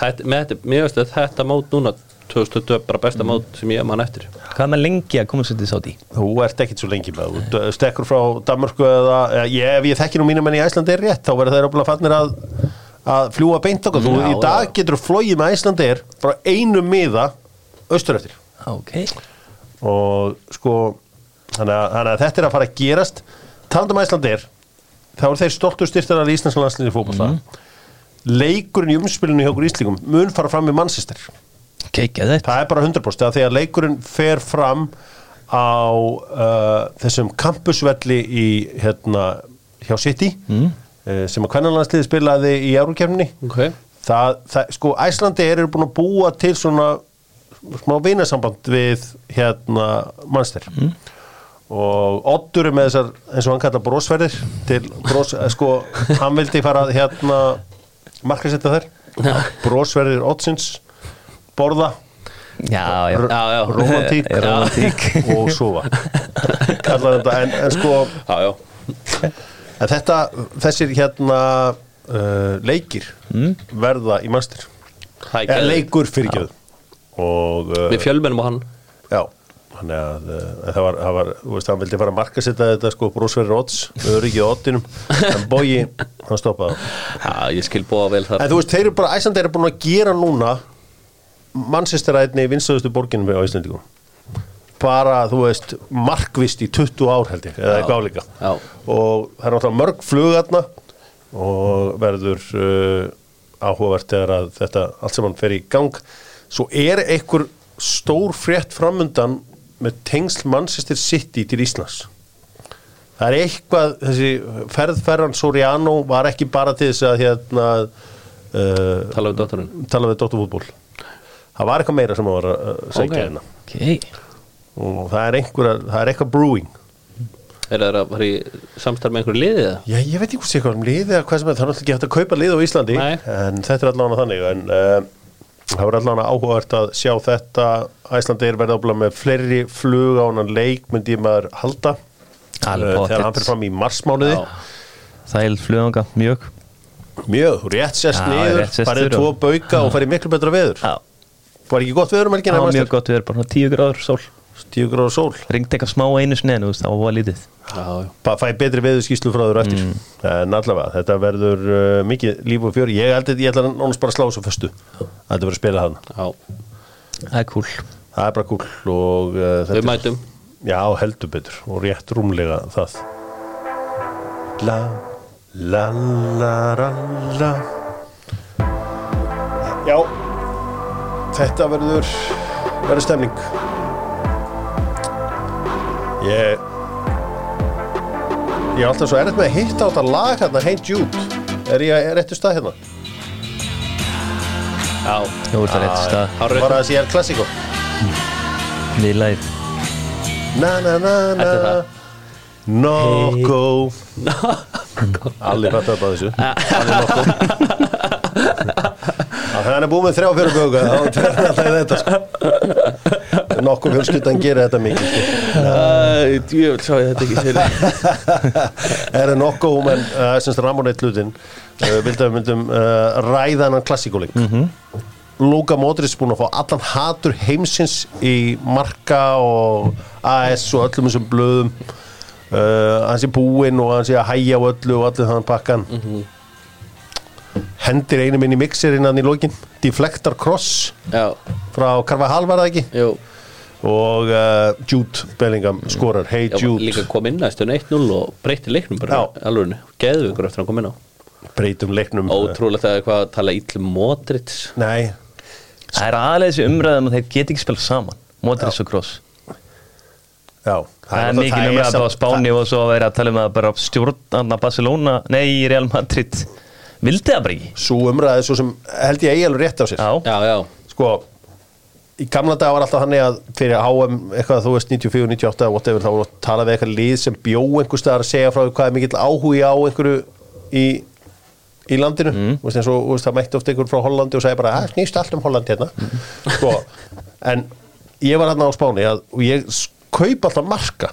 þetta, með þetta, mér veist að þetta mót núna 2020 er bara besta mót sem ég mann eftir
Hvað með lengi að koma sér til sáti?
Þú ert ekkit svo lengi með, þú d- stekkur frá Danmörku eða, eða ég, ef ég þekki nú mínum en í Æslandi er rétt, þá verður þeir opnað fannir að, að fljúa beint okkur, þú
Já,
í dag getur þú flogið með Æslandi er frá einu miða austur eftir
Ok
og sko þannig að, þannig að þetta er að fara að gerast talandum Æslandi er, þá eru þeir stoltur styrtar að Íslands landsliði fótbolta
Mhm.
leikurinn í umspilinu hjá okkur Íslingum mun fara fram í Manchester
Keikja þetta
Það er bara 100% að því að leikurinn fer fram á uh, þessum kampusvelli í hérna hjá City uh, sem að kvennanlandsliði spilaði í Eurókefni
okay.
það, það, sko Æslandi eru búin að búa til svona smá vinasamband við hérna mannster og Oddur er með þessar eins og hann kallar brósverðir til brós, eh, sko hann vildi fara að, hérna markasetta þær brósverðir Oddsins borða
Já, já
Já, já.
romantík,
Já. Rómantík.
og sofa kallar þetta en, en sko
Já, já,
en þetta, þessir hérna uh, leikir verða í master
það er
eða
ekki
leikur fyrirgjöð og uh,
Við fjölmennum og hann
já Þannig að uh, það var, það var, þú veist, hann vildi fara að marka setja þetta sko brúsverri odds, öryggið á oddinum, en bogi, hann stoppaði. þá.
Já, ég skil búa vel þar
En þú veist, þeir eru bara, Æslandi eru búin að gera núna mannsisteraðinni í vinstöðustu borginum á Íslandingum bara, þú veist, markvist í 20 ár held ég, eða
Já.
eitthvað álíka
Já.
og það er náttúrulega mörg flugarna og verður uh, áhugavert þegar að þetta allt sem hann fer í gang svo er einhver stór frétt framundan með tengsl Manchester City til Íslands það er eitthvað þessi ferðferðan Soriano var ekki bara til þess að hérna uh,
Tala um dótturinn
tala við Dóttur fútból það var eitthvað meira sem hann var að uh, segja
Ok.
hérna
Ok
og það er einhver það er eitthvað brewing
Er það að fara í samstarf með einhverju liðið það?
Já, ég veit ekki hvort sé eitthvað um liðið eða hvað sem er, það er náttúrulega ekki hægt að kaupa lið á Íslandi
Nei.
en þetta er allavega þannig en uh, Það verður allavega áhugavert að sjá þetta Æslandeir verða ábúinlega með fleiri flug á hann leik myndi ég maður halda
Alveg
Eh,
pottet.
þegar hann fyrir fram í marsmánuði
Já.
Þæl fluganga, mjög
mjög rétt sest
Já,
niður,
rétt sest
farið
niður
tvo
og-
bauka og farið miklu betra veður
Já,
var ekki gott veður um
það
helgina
var mjög
Marsteinn?
gott við erum bara svona 10 gráður sól
tíu gráður sól
Ringd eitthvað smá einu sinni en þú veist, það var voða lítið
Já, já.
bara fæ betri veðurskíslu frá þér á
Mm.
eftir en allavega, þetta verður uh, mikið líf og fjör, ég held að ég ætla að nánast bara að slá þessu föstu, þetta verður að spila hann
já.
Það er cool
það er bara kúl og uh,
Við
þetta er-
mætum
já, heldur betur og rétt rúmlega það la la la la la já þetta verður verður stemning ég ég er alltaf svo erfitt með að hitta á þetta lag hérna, Hey Jude er ég réttu stað hérna?
Já,
Nú er það rétt stað,
Hárrétt.
bara þessi er klassíko
við læð
Na na na na
Þetta er það.
Nokko Allir fattu upp á þessu Allir nokko Þannig að hann er búið með þrjá fjöru bjóka þá fer hann alltaf í þetta sko. Nokko fjölskyldan gerir þetta mikið sko.
Æ, djöfull sá ég þetta ekki fyrir
Er það nokko um en uh, semst Ramonett hlutin uh, vildi að við myndum uh, ræða hennan klassíkuleik mm -hmm. Luka Modric búin að fá allan hatur heimsins í marka og AS og öllum þessum blöðum uh, hans er búinn og hans er að hæja á öllu og allir þann pakkan hendir einu minn í mixerinn hann í lokin deflektar cross
Já,
frá Carvajal var það ekki
jú
og uh, Jude Bellingham skorar hey
Já,
Jude
líka kom inn að stund 1-0 og breyti leiknum bara
Já.
alveg, geðu ykkur eftir að hann kom inn á
breytum leiknum
Ótrúlega það er hvað að tala ítlum Modric
Nei,
Það er aðlega þessi umræðan og þeir get ekki spila saman Modric og Gross
Já,
Það er
náttúrulega-
mikið
það
numra
samt-
bara á Spáni og svo að vera að tala um að bara stjórnarna Barcelona, nei, í Real Madrid vildi það bara ekki
Sú umræði svo sem held ég eigi alveg rétt á sér
Já,
Já, já,
Sko, í gamla dag var alltaf þannig að fyrir HM eitthvað þú veist 94, 98 eða whatever þá voru að tala við eitthvað lið sem bjó einhvers staðar að segja frá því hvað er mikill áhugi á einhverju í, í landinu þú veist, eins og þú veist, það mætti ofta einhver frá Hollandi og sagði bara, það snýst allt um Hollandi hérna Sko, en ég var hérna á Spáni að, og ég s- kaupa alltaf marka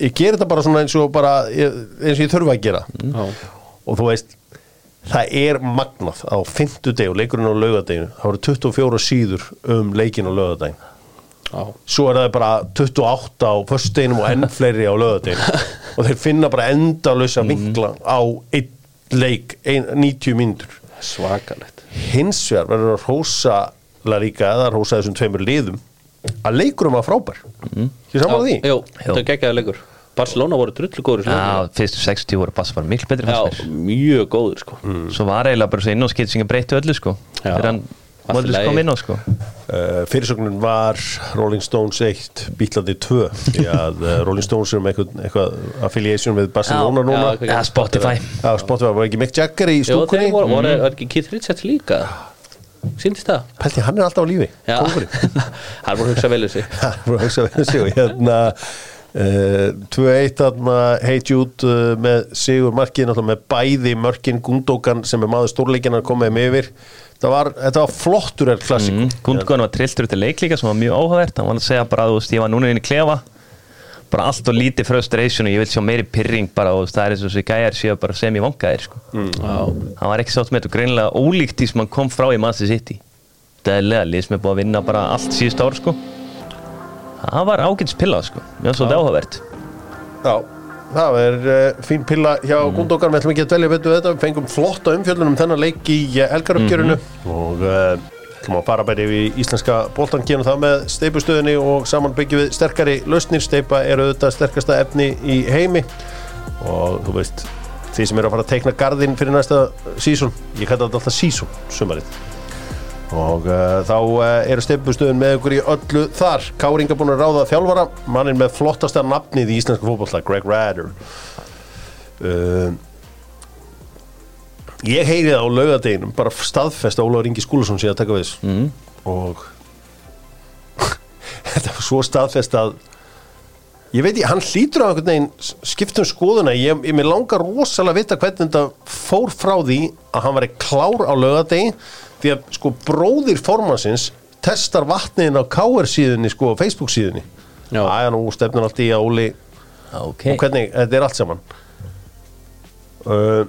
ég ger þetta bara svona eins og bara ég- eins og ég þurfa að gera
já,
og þú veist það er magnað á fimmtudeg og leikurinn á laugadeginu, það voru 24 síður um leikinn á laugadegin
já.
svo er það bara 28 á föstudeginum og enn fleiri á laugadeginu og þeir finna bara endalösa vinkla á einn leik ein, 90 mínútur
svakalegt
hins vegar verður að rósa Laríka eða rósa þessum tveimur liðum að leikurum var frábær mm. ekki saman því?
Jú, þetta er geggjaði leikur Barcelona voru drullu góður
Já, fyrstu 60 voru Barca bara miklu betri fannst
já, mjög góður sko
mér Svo var eiginlega bara svo inn og skilt sem breyttu öllu sko
Já.
Þegar hann
Allt í
Modric
lagi.
kom inn á sko
Uh, fyrirsögnin var Rolling Stones 1, Bílandi 2 því að uh, Rolling Stones er um eitthvað, eitthvað affiliation við Barcelona
Já,
núna
já,
já,
eitthvað-
Já, Spotify
Spotify, var ekki Mick Jagger í
Jú, þeir
stúkunni
voru, voru, var ekki Keith Richards líka Sýndist það?
Pelti, hann er alltaf á lífi
Já,
kóngurinn.
hann voru að hugsa vel um þessi
Það voru að hugsa við þessi og hérna uh, 2-1 þarna Hey Jude uh, með Sigur Markin með bæði mörkin Gundókan sem er maður stórleikina komið um yfir það var, þetta var flottur er klassik
Gundgóðan Mm. var trilltur út í leik líka sem var mjög áhugavert Hann var að segja bara, þú veist, ég var núna inn í klefa bara allt og lítið frustration og ég vil sjá meiri pyrring bara og það er eins og þessi gæjar séu bara sem ég vangaðir sko
Já,
hann var ekki sátt með þetta og greinilega ólíkt því sem hann kom frá í Manchester City dæðilega lið sem er búið að vinna bara allt síðust ár sko það var ágætis pilla sko mjög svolítið áhugavert
Já, það er uh, fín pilla hjá mm. Gundókar, við ætlum ekki að dvelja betur við þetta, við fengum flotta umfjöldunum þennan leik í eh, elgaröfgjörinu Mhm. og uh, ætlum að fara bæri við íslenska boltan kemur það með steipustöðinni og saman byggjum við sterkari lausnir, steipa er auðvitað sterkasta efni í heimi og þú veist, því sem eru að fara að teikna garðinn fyrir næsta sísón, ég kallar þetta alltaf sísón, sumarið og uh, þá uh, eru steipustöðun með ykkur í öllu þar Káringa búin að ráða þjálfara mannin með flottasta nafnið í íslensku fótbolla Greg Radder uh, ég heyri það á laugadeginum bara staðfest að Ólafur Ingi Skúlason sé að taka við þess mm. og þetta var svo staðfest að ég veit ég, hann hlýtur á einhvern veginn s- skiptum skoðuna, ég, ég mér langar rosalega að vita hvernig þetta fór frá því að hann var klár á laugardegi því að sko bróðir formansins testar vatniðin á KR síðunni sko á Facebook síðunni
Já.
Æja nú stefnir allt í að Óli
ok
og hvernig, þetta er allt saman uh,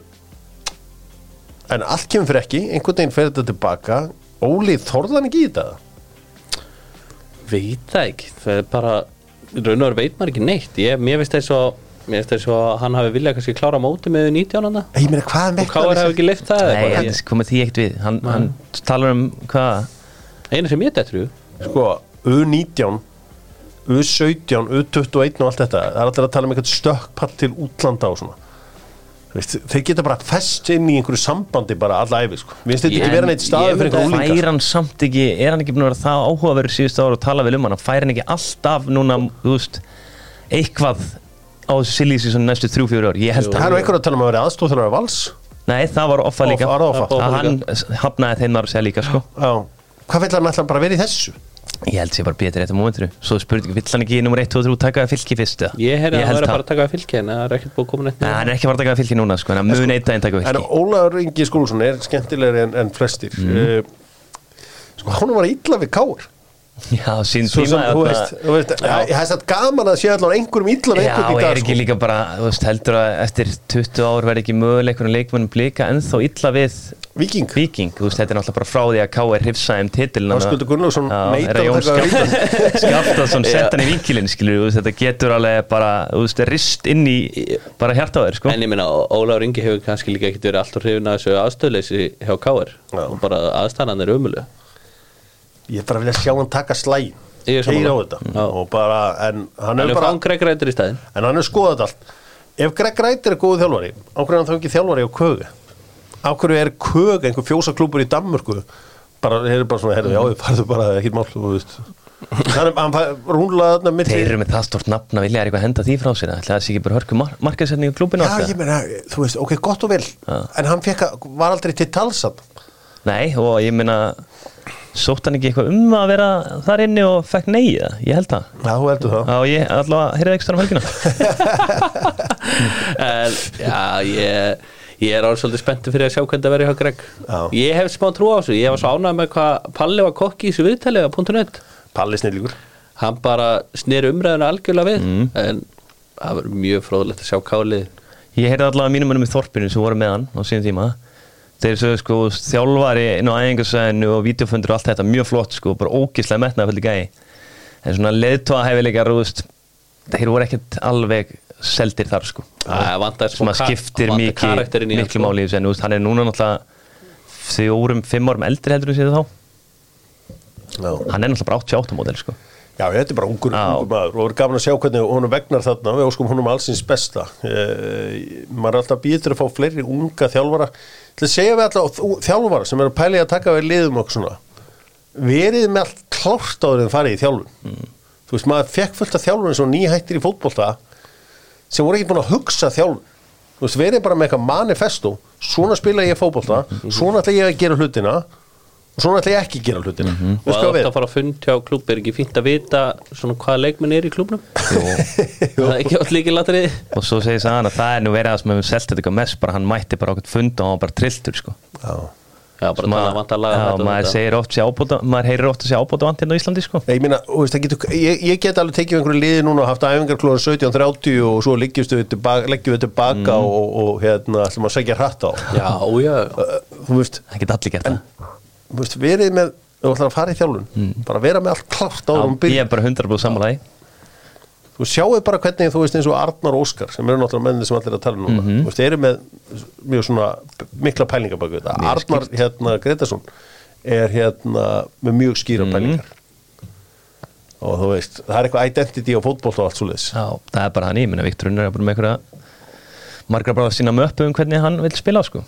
En allt kemur fyrir ekki einhvern veginn fer þetta tilbaka Óli þorðan ekki í þetta
veit það ekki það er bara, í raun og veru veit maður ekki neitt ég, mér veist þess að mér veist þess að hann hafi viljað kannski klára móti með 19 hana
Ég meina hvað
og Káar hafi ekki leift það eða
Nei,
eitthvað.
hann komið því ekkert við Hann, hann talar um hvað
einu sem ég dettur í hug.
Sko, U19 U17, U21 og allt þetta það er allir að tala um eitthvað stökkpall til útlanda og svona Þú Veist, þeir geta bara fest inn í einhverju sambandi bara alla æfi, sko. Við þetta ekki vera neitt staðið fyrir einhverju úlingar.
Fær hann samt ekki, er hann ekki búin að vera það áhugaverður síðustu ára og tala vel um hann Fær hann ekki alltaf núna, þú veist Eitthvað á þessu silísi svona næstu þrjú, fjóru ár Ég held
Það er nú
að
einhver að tala um að vera aðstóðþjóðar vals
Nei, það var offa líka
Offa, var það offa?
Að Hann hafnaði þeim maður að segja líka, sko
Já. Hvað vill hann ætla bara að vera í þessu?
Ég held sé bara betur þetta mómentru Svo spurði ekki, vill hann ekki í nummer 1, 2, 3 taka að fylki fyrst eða?
ég heyrði að hann
held
verið bara að taka að fylki en það er ekkert búið að koma neitt
Nei,
niður.
hann er ekki að fara að taka að fylki núna, sko En hann mun eitt daginn taka að
En
fylki
Ólaður Ingi Skúlsson er skemmtilegri en, en flestir
Mhm.
uh, Sko, hann var illa við káur
Já, sín
Svo sem,
tíma
þú
þarna-
veist, þú veist
Já.
Það er satt gaman að sé allan einhverjum illa við
Já,
einhvern
og
í
er
dag
ekki
sko.
líka bara, þú veist, heldur að eftir 20 ár verði ekki möguleikur og leikmennum blika ennþá illa við
Víking
viking, þú veist, þetta er náttúrulega bara frá því að K.R. hrifsaði um titilin
Áskuldur Gunnlaugsson neitar að taka við vítan
Skaftason sett hann í vinkilin, skilur, þú veist, þetta getur alveg bara, þú veist, rist inn í bara hjarta á þér, sko
En ég minna, Ólaur Ingi hefur kannski líka ekkert verið alltaf hrifin að þessu aðstöðleysi hjá Káar
Já.
og bara aðstæðan er ömuleg
Ég er bara að vilja sjá hann taka slægin
Ég er sammála.
Keira á þetta
Já.
Og bara, en hann
Hann
er
er
bara
fán gregrætur í staðin
En hann er skoðað allt Ef Greg Wright er góð þjálfari Á hverju er hann þá ekki þjálfari á kögu Á hverju er kögu einhver fjósaklúpur í Danmörku Bara, þeir eru bara svona Herðu, já, við farðu bara, ekki mál þú veist. Þannig, hann fær rúnlaða þarna mitt
Þeir eru með það stort nafn að vilja er eitthvað að henda því frá sér ætli Það sé ekki bara hörku mar markaðsendingu klubinu
Já, ég meina, þú veist, ok, gott og vel En hann fekk að, var aldrei til talsan
Nei, og ég meina sótt hann ekki eitthvað um að vera þar inni og fekk nei, eða? ég held það
Já, þú heldur það
Já, ég allavega heyrði ekki stannum helgina
en já, ég, ég er alveg svolítið spenntur fyrir að sjá hvernig það verður hjá Greg
Já.
ég hef smá trú á þessu, ég var svo ánægð með hvað Palli var kokki í þessu viðtali á .net
Palli snillíkur
hann bara snýr umræðuna algjörlega við
Mm.
en það verður mjög fróðlegt að sjá kálið
Ég heyrði allavega mínum mönnum í þorpinu sem voru með hann á síðan tíma Þeir sögðu sko þjálfari inn á æfingarsæðinu og vídeofundur og allt þetta mjög flott sko, bara ógislega metnaði fyrir gæi En svona leiðtóa hefileikar, þú veist, þeir voru ekkert alveg seldir þar sko
Það vantar smá
Sem að
ka-
skiptir
vantar
mikið,
karakterinn í hann,
miklu
sko.
máli í þessu en þú veist, hann er núna náttúrulega fjórum, fimm árum eldri heldur en séð þá
Já,
Hann er náttúrulega bara 88 mótel sko
Já, þetta er bara ungur,
Já.
ungur maður og er gaman að sjá hvernig honum vegnar þarna við óskum honum allsins besta uh, maður er alltaf býtur að fá fleiri unga þjálfara til að segja við alltaf þjó- þjálfara sem eru pælið að taka við liðum okkur svona verið með allt klárt áður en farið í þjálfun þú veist, maður fekk fullt af þjálfun svo nýhættir í fótbolta sem voru ekki búin að hugsa þjálfun þú veist, verið bara með eitthvað manifesto svona spila ég fótbolta, svona ætla ég að gera hlutina og svona ætla ég ekki að gera hlutina mm
og að þetta fara að fund hjá klúb er ekki fínt að vita svona hvaða leikmenn er í klúbnum það er ekki allir líki latri
Og svo segir það að það er nú verið að sem hefur selgt þetta eitthvað mest bara hann mætti bara okkur fund og hann var bara trilltur sko
fara
já, bara
Ma-
tala að vantar laga
Já,
þetta og
maður
þetta.
segir oft sé ábóta maður heyrir oft að sé ábóta vant hérna á Íslandi sko
Nei, ég, meina, þú veist, það getur, ég, ég get alveg tekið einhverju liði núna og haft æfingar klóðan 17.30 og svo leggjumstu við tilbaka, leggjum við tilbaka
Mm.
og, og hérna, ætlum að segja hratt á
já, já, já.
Ö, Þú veist,
það get allir gert það
þú veist, verið með þú ætlar að fara í þjálfun, bara vera með allt klart á
Mm.
þú
Já, ég
byrja,
er bara 100% sammálaði
þú sjáu bara hvernig þú veist eins og Arnar og Óskar, sem eru náttúrulega menni sem allir að tala um núna,
Mhm.
þú veist, eru með mjög svona mikla pælingar baka þetta Arnar, hérna, Gretarsson er hérna með mjög skýra
Mm.
pælingar og þú veist, það er eitthvað identity á fótbolta og allt svo
já, það er bara hann í, minna Viktor Unnar er bara með einhverja margra bara sína möppu um hvernig hann vil spila sko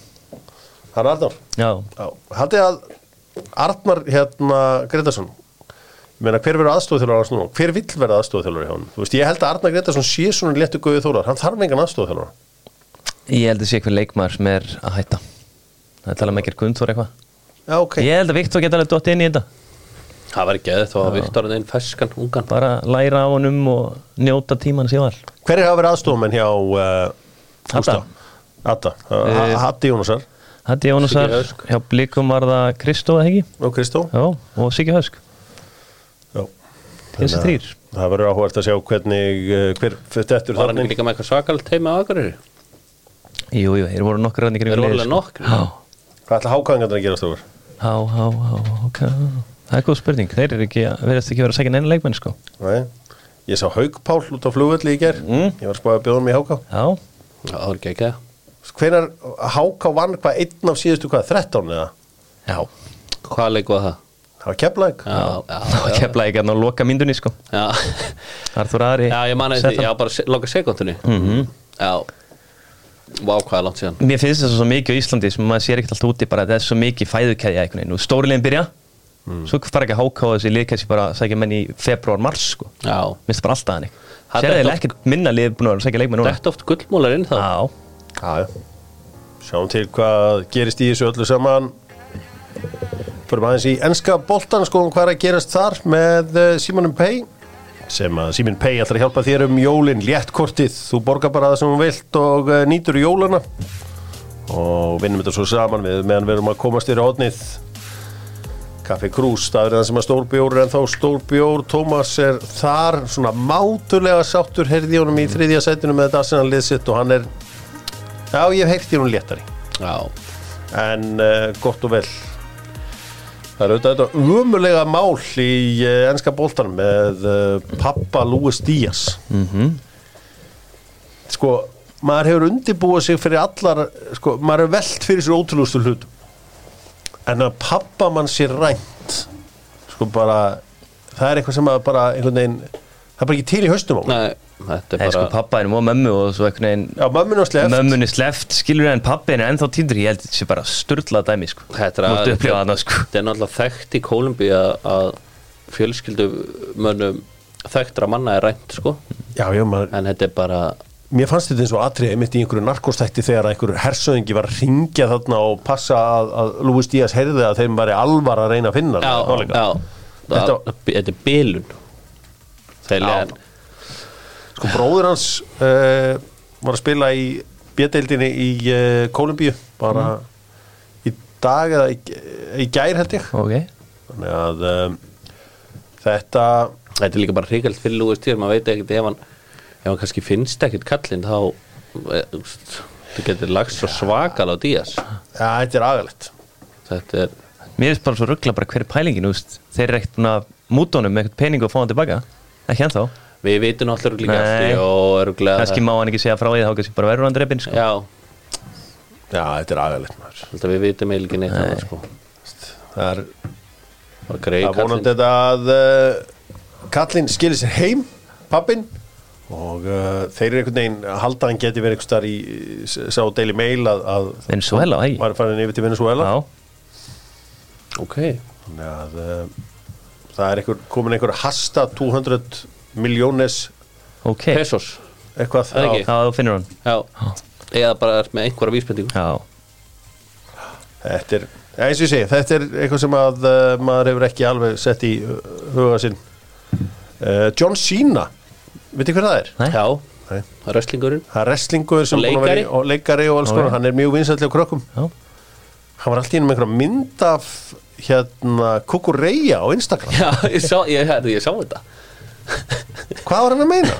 Hann Arnar
já,
Já, haldið að Arnar hérna Gretarsson ég meina hver verður aðstofþjálfur á snúna hver vill verða aðstofþjálfur í hann þú veist ég held að Arnar Gretarsson sé svona léttu guðið þólar hann þarf engan aðstofþjálfur
ég held að sé eitthvað leikmaður sem er að hætta það er talað með ekkert Gunnþór eitthvað
já ok
ég held að Viktor geta alveg dótt inn í þetta
það var ekki eða þá að Viktor er einn ferskan ungan
bara læra á honum og njóta tíman sér var
hver er að vera aðstofmenn hjá uh,
Hadda. Eh.
Gústa? Hadda Hadda Jónasar
Hatti Jónasar,
Siggi Hösk.
hjá Blikum var það Kristó eða ekki,
og Kristó
já, og Siggi Hösk
Já.
þessi
Þannig
þrýr,
að Það verður áhugavert að sjá hvernig eh, hver fyrirtettur
Var hann ekki
þannig
líka með eitthvað svakalegt teima á Akureyri?
jú, jú, þeir voru nokkur rann í
Þeir
kringum
voru
liðið,
alveg
sko.
nokkrir.
Já,
Hvað ætla hákangarnir að gera stofur?
há, há, há, ok það er góð spurning, þeir eru ekki að verðast ekki að vera að segja neina leikmenn, sko
Nei, ég sá Haugpál út á flugvöldi í ger
Mm.
Ég var sko að bjóða um í háká
já,
Já, það er ekki ekki
Hvenar háká vann hvað einn af síðustu hvað, 13 eða?
já,
Hvað leik var það?
Það var keflæk
Já, já, já,
kefla ekki að ná loka myndunni, sko
já.
Arþur Ari
já ég man
setti
eitthvað,
hann.
já, bara se- loka sekundinni -hmm. Já, vá hvað er langt síðan
Mér finnst þess að svo mikið á Íslandi sem maður sér ekkert alltaf úti bara þetta er svo mikið fæðukeðja einhvern veginn og stórilegin byrja
Hmm.
svo fara ekki að háka á þessi lið kannski bara að sækja menn í februar, mars sko
Já,
minnst það bara alltaf þannig
Það
sér
er
þeir
dott-
ekkert minna lið búin að vera að sækja leikmenn núna
dætt oft gullmúlar inn þá
Já,
Já, já Sjáum til hvað gerist í þessu öllu saman Förum aðeins í enska boltan skoðum hvað er að gerast þar með eh, Símanum Pay sem að Símin Pay ætlar að hjálpa þér um jólin léttkortið, þú borgar bara það sem þú vilt og eh, nýtur jólana og vinnum þetta svo saman við meðan við erum að komast yfir hodnið Kaffi Krús, það er það sem að stórbjór er ennþá stórbjór, Tómas er þar svona mátulega sáttur heyrði ég honum í þriðja sætinu með þetta Arsenal lið sitt og hann er Já, ég hef heyrt í hún léttari
Já,
En uh, gott og vel Það er auðvitað þetta umulega mál í uh, enska boltan með uh, pappa Lúis Díaz mm -hmm. Sko, maður hefur undibúið sig fyrir allar sko, maður hefur velt fyrir sér ótrúlustu hlut en að pappa mann sér rænt sko bara það er eitthvað sem að bara einhvern veginn það er bara ekki til í haustum á honum.
nei, þetta er
það
bara
er sko pappaðin og mömmu og svo einhvern
Já, mömmun og sleft
veginn mömmunni sleft, skilur en pappin er ennþá týndur, ég held þetta sé bara störla dæmi sko,
Þetta er að-
múttu upplifa þarna sko
Þetta er náttúrulega þekkt í Kólumbíu að- að fjölskyldumönnum þekktra manna er rænt sko
Já, já, maður,
en þetta er bara
Mér fannst þetta eins og atriði mitt í einhverju narkostætti þegar einhverju hersöðingi var að ringja þarna og passa að, að Lúi Stías heyrði að þeim væri alvar að reyna að finna hann.
já,
Nálega.
já, þetta,
Þetta-
þetta er bilun
Já.
þegar
Sko bróður hans uh, var að spila í bjödeildinni í uh, Kólumbíu bara í dag eða í, í gær held ég.
ok,
Þannig að um, þetta,
þetta er líka bara hrikald fyrir Lúi Stíð maður veit ekkert ef hann ef hann kannski finnst ekkert kallinn þá eh, þú veist, þú getur lagst svo svakal á Días
ja, þetta er agalegt.
þetta er
mér finnst bara svo ruggla bara hver er pælingin, þú veist, þeir eru ekkert búin að múta honum með eitthvað pening og fá hann tilbaka ekki ennþá
við vitum náttúrulega líka
Nei.
eftir og örgulega
kannski má hann ekki segja frá því þá kannski bara verður hann drefin sko.
já,
Já, þetta er agalegt maður.
held að við vitum eiginlega ekki neitt annað, sko.
Það er,
bara
Það
greið
er vonandi
kallinn
þetta að uh, kallinn skilir sér heim, pappin og uh, þeir eru einhvern veginn að halda að hann geti verið einhvers þar í s- sá Daily Mail að, að
Venezuela, ekki?
var farin yfir til Venezuela
já,
ok,
Þannig að, uh, það er einhver, komin einhver hasta 200 miljónes
ok
pesos
eitthvað
Það er ekki.
Já,
já, þú finnur hann
já, eða bara ert með einhverja vísbendingu
já,
þetta er, ja, eins og ég segi, þetta er eitthvað sem að uh, maður hefur ekki alveg sett í uh, huga sinn uh, John Cena veitir hver það er?
Nei.
já,
Nei.
wrestlingurinn
Það er wrestlingur sem búinn að vera í-
Leikari.
og leikari og alls
Ó,
konar,
já.
hann er mjög vinsætlega krökkum
já,
hann var alltaf inn með einhverja mynd af hérna Kukureya á Instagram
já, ég sá, ég, ég, ég sá þetta
hvað var hann að meina?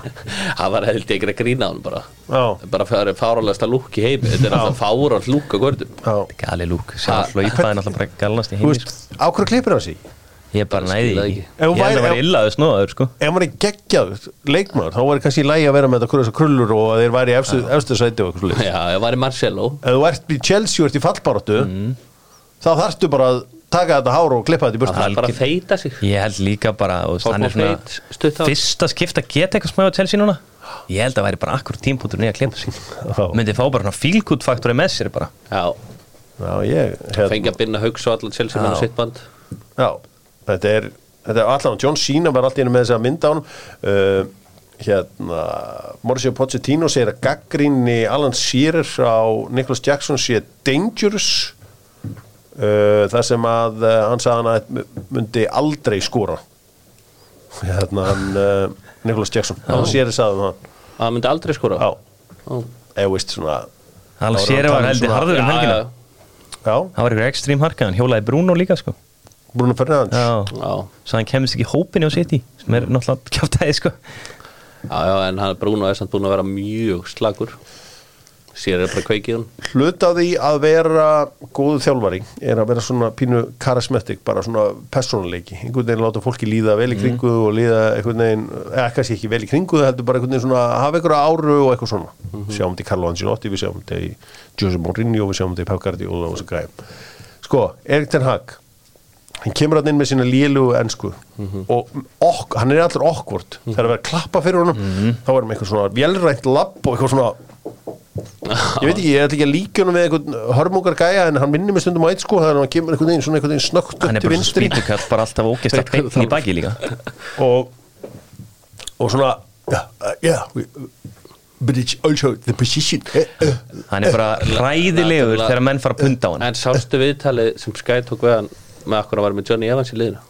það var held ég ekki að grína á hann bara
Já,
bara fyrir að fáralegasta lúk í heimi þetta er alltaf fáralt lúk á gördum
já
gali lúk sjálflói í það er náttúrulega bara galnast
Þú
í heimi
veist,
sko.
á hverju klippir hann sig?
ég bara næði
Skil það
því
ekki.
ekki
Ef hún
ég held
væri-
að vera
ef-
illaður snóður sko
ef maður er geggjaður leikmaður þá væri kannski í lægi að vera með þetta krullur og krullur og að þeir væri í efstu, efstu sæti og eitthvað slúið
já, ég var í Marcelo
ef þú ert í Chelsea og ert í fallbaróttu
Mm.
þá þarftu bara að taka þetta hár og klippa þetta í burtu
það er bara að feita sig
ég held líka bara þú veist,
Pogba
hann er svona
feit, stutt hár.
fyrsta skipt að geta eitthvað smá á Chelsea núna ég held að væri bara akkur tímpútur nýja að klepa sig myndi fá bara svona fílgút faktori með sér bara
já,
já, ég, hérna-
fengi að binda haugs og allan Chelsea með sitt band
Já, þetta er, þetta er allan John Cena var alltaf einu með þess að mynda á hann uh, hérna Mauricio Pochettino segir að gaggrinni Alan Shearer á Nicholas Jackson sé dangerous uh, þar sem að uh, hann sagði hann að þetta myndi aldrei skora hérna hann uh, Nicholas Jackson, Alan Shearer sagði um hann
að það myndi aldrei skora
Já,
Ó.
eða veist svona Þá
alls
er
sér
hann
var
talað um
heldur
svona-
harður um
Já,
helgina
já.
Já,
það var eitthvað ekstrím harka, hann hjólaði Bruno líka sko
Bruno Fernandes
já,
já,
svo hann kemist ekki í hópinni á City sem er náttúrulega kjátaði sko
já, já, en hann Bruno er samt búin að vera mjög slagur sér er bara kveikið hann
Hluti af því að vera góðu þjálfari er að vera svona pínu karismetik, bara svona persónuleiki einhvern veginn láta fólki líða vel í kringu og líða einhvern veginn, eða kannski ekki vel í kringu það heldur bara einhvern veginn svona að hafa einhverja áru og eitthvað svona, sjáum þetta í Carlo Ancelotti við sjáum þetta í Jose Mourinho við sjáum þetta í Pep Guardiola og þessu græm sko, Erik Ten Hag hann kemur hann inn með sína lélugu ensku
Mhm.
og ok, hann er allur okkvort þegar að vera að klappa fyrir honum
Mhm.
þá er hann með eitthvað svona velrænt lapp og eitthvað svona ég veit ekki, ég ætla ekki að líka honum við einhvern hörmungar gæja en hann minnir mig stundum á eitt sko þannig að hann kemur einhvern veginn svona einhvern veginn snögt upp
hann er
til
bara svo
vinstri
spýtukall, bara alltaf ógeðslega beint í baki líka
og, og svona eh, já, já but it's also the position eh, eh.
hann er bara ræðilegur
Náttúrulega-
þegar menn fara að punda á hann
en sástu viðtalið sem Sky tók við hann með akkur að vera með Johnny Evans í liðinu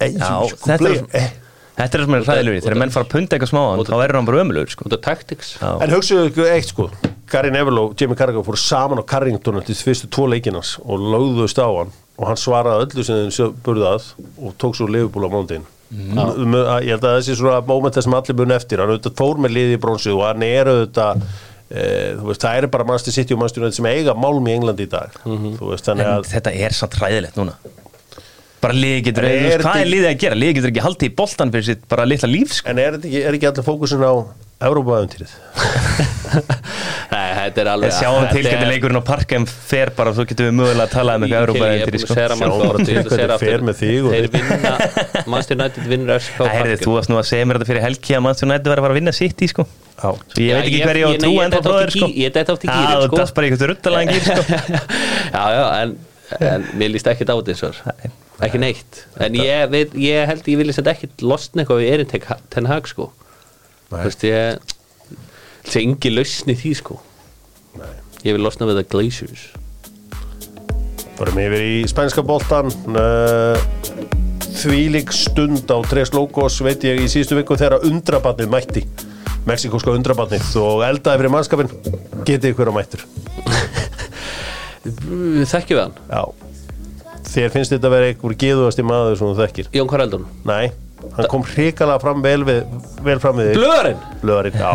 Eh,
Já,
sko,
þetta er-
play- eh.
þetta er það sem hann er ræðilegur, í, þegar menn fara að punda eitthvað smá á hann þá verður hann bara ömulegur sko
út af tactics
Já.
En hugsaðu ykkur eitt sko Gary Neville og Jamie Carragher fóru saman á Carrington eftir fyrstu tvo leikinans og lögðuðust á hann og hann svaraði öllu sem þeim sjö- burði að og tók svo leifubúl á mándin mm. Ég held að þessi svona mómenta sem allir mun eftir hann auðvitað fór með liði í bronsið og hann er auðvitað e, veist, það eru bara mannstu sitt og mannstu sem eiga málm í Englandi í dag Þú veist þannig
en
að
þetta er samt ræðilegt núna bara liðið getur,
En er
þú veist, hvað
þetta-
er liðið að gera liðið getur ekki haldið í boltan fyrir sitt bara litla líf sko.
En er, þetta ekki, er ekki allir fókusin á Európaðuntýrið?
Nei, þetta er alveg
en sjáum um til
þetta er-
getur leikurinn á parkem fer bara, þú getur við mögulega að tala um eitthvað
Ég-
Európa
ég er búin
eftir í,
að
sko.
segja
Sjáum
margt
bara
oft,
til
ég ætla að
hvernig
segja aftur.
fer með þig og
Þeir
þig.
vinna, Manchester United vinnur FSK
Herði, þú varst nú að segja mér þetta fyrir helgi að mannstjórn nættu verið að fara að vinna sitt í sko
Já
Svo ég
Já,
veit ekki
ég-
hverju ég á
ég-
að
nei, ég
trúa ennþá
dett oft í
bróður sko
gí- ég dett oft í
Já,
gýrin, sko.
Þú dast bara í eitthvað ruttalega gýr sko
Já, já, en, en mér líst ekki dáti eins og ekki neitt en ég, veit, ég held ég vilja þetta ekki losna eitthvað við erinn tek- ten hag sko þú veist ég það er engi lausn í því sko ég vil losna við það glaciers
Förum yfir í spænska boltan uh, Þvílík stund á Tres Logos veit ég í síðustu viku þegar undrabarnið mætti Mexikoska undrabarnið og eldaði fyrir mannskapin getið ykkur á mættur
Mm, þekkjum við hann,
Já Þér finnst þetta að vera einhver geðuðasti maður sem þú þekkir
Jón Karaldun
Nei, hann kom hrikalega fram vel, við, vel fram við þig.
Blöðurinn Ah.
Blöðurinn, já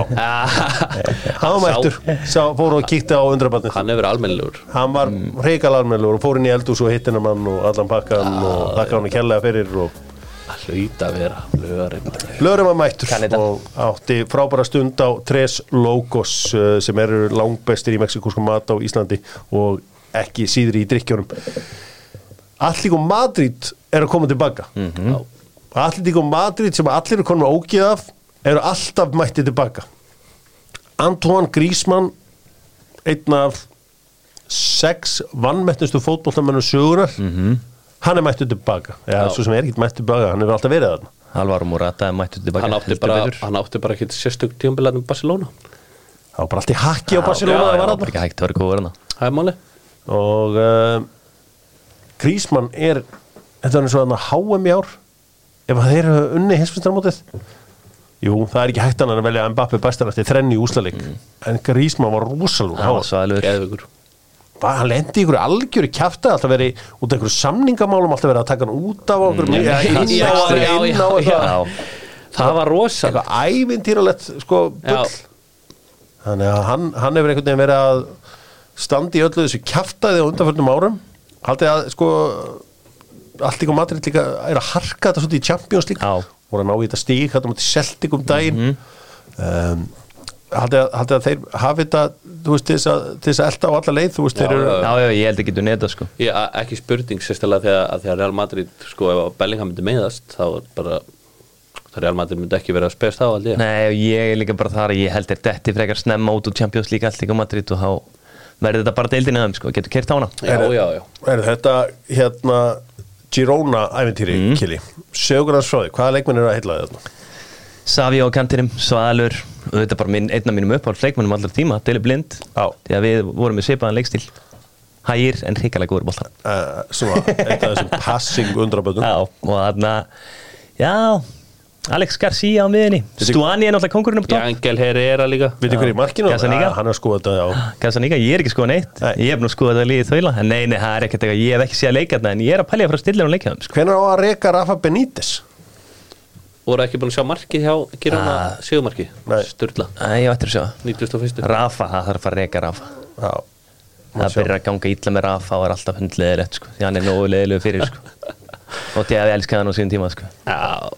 Hann var mættur, sá, fór og kíkti á undrabarnið
hann hefur almennilegur
Hann var hrikalega almennlegur og fór inn í eldús og hittina mann og allan pakkan og þakka hann kærlega fyrir og
að hlauta að vera blöðurinn
Lörum að mættur
Kanada.
og átti frábæra stund á Tres Logos uh, sem eru langbestir í mexikúskum mat á Íslandi og ekki síðri í drikkjónum Allíku Madrid er að koma tilbaka mm
Mhm.
-hmm. Allíku Madrid sem allir eru konum ógið af eru alltaf mættið tilbaka Antoine Griezmann einn af sex vannmetnustu fótboltamennum sögunar hann er mættið tilbaka Já,
Já.
svo sem er ekkert mættið tilbaka, hann hefur alltaf verið þarna
Alvaro Morata er mættur tilbaka
hann átti
heldur
bara,
betur.
hann átti bara ekki sérstök tíumbilanum Barcelona
Það var bara allt í hakki á
Já,
Barcelona
já,
það var
bara
þarna.
ekki hægt að vera góður hana
það er máli
og uh, Grísmann er þetta er eins og hann að HM í ár ef þeir eru unni hinsfistarmótið Jú, það er ekki hægt annað en að velja Mbappi bestan eftir þrenni í úslalik en Grísmann var rosalúr
Það var svaðalur
geðvögur
hann lendi í ykkur algjöru kjafta alltaf verið út af ykkur samningamálum alltaf verið að taka hann út af okkur mm, ja, inn á
já,
hann,
já,
inn á
já, já.
eitthvað
það var rosa
eitthvað ævintýralegt sko
Já.
bull þannig að hann, hann hefur einhvern veginn verið að standa í öllu þessu kjaftaði á undanförnum árum haldið að sko allt líka Madrid líka er að harka þetta svolítið í Champions League
Já.
voru að ná í þetta stík hann mútið Celtic um daginn
Mhm.
um, haldið, að, haldið að þeir hafi þetta þú veist til þess að, til þess að elta á alla leið þú veist þeir eru
já,
Já, já, ég held ekki þú neta sko
Já, ekki spurning sérstælega þegar, að þegar Real Madrid sko ef að Bellingham myndi meiðast þá er bara það Real Madrid myndi ekki vera að spes þá aldrei
Nei, og ég er líka bara þar að ég held er detti frekar snemma út úr Champions League allt líka á Madrid og þá verður þetta bara deildin aðeim sko, getur kert á hana
Já, já, já,
Er þetta hérna Girona ævintýri
Mhm.
mm. kili sögur hans frá því, hvaða leikmenn eru að heilla þið þarna?
Savi á kantinum, Svalur og þetta er bara minn, einn af mínum uppáhalds leikmennum allar tíma, Deli Blind
Já.
því að við vorum með svipaðan leikstíl hægir en hrikalega góður boltan
Eh, uh, svona, eitt af þessum passing undraböndum
Já, og þarna já, Alex Garcia á miðinni Stuani er náttúrulega kongurinn upp topp
Jangel Herrera líka
Við þið hverju markinu? Eh,
Gazzaniga.
hann er skoðað þetta, já.
Gazzaniga, ég er ekki skoðan eitt
Nei.
Ég hef nú skoðað að liði þaula En Nei, nei, það er ekkert eitthvað, ég hef ekki séð leikarna En ég er að pælja frá stillir og leikjaðum sko.
Hvenær á að reka Rafa Benítez?
voru ekki búin að sjá markið hjá Girona
Ah.
sigumarki,
Nei.
Sturla
Æ, ég ættir að sjá það.
91.
Rafa, það þarf að fara að reyka Rafa
Já. Má
Það
sjá.
byrjar að ganga illa með Rafa og er alltaf hundleðilegt sko. Því hann er nógu leðilegu fyrir sko. Og því að við elska hann á síðan tíma sko.
Já,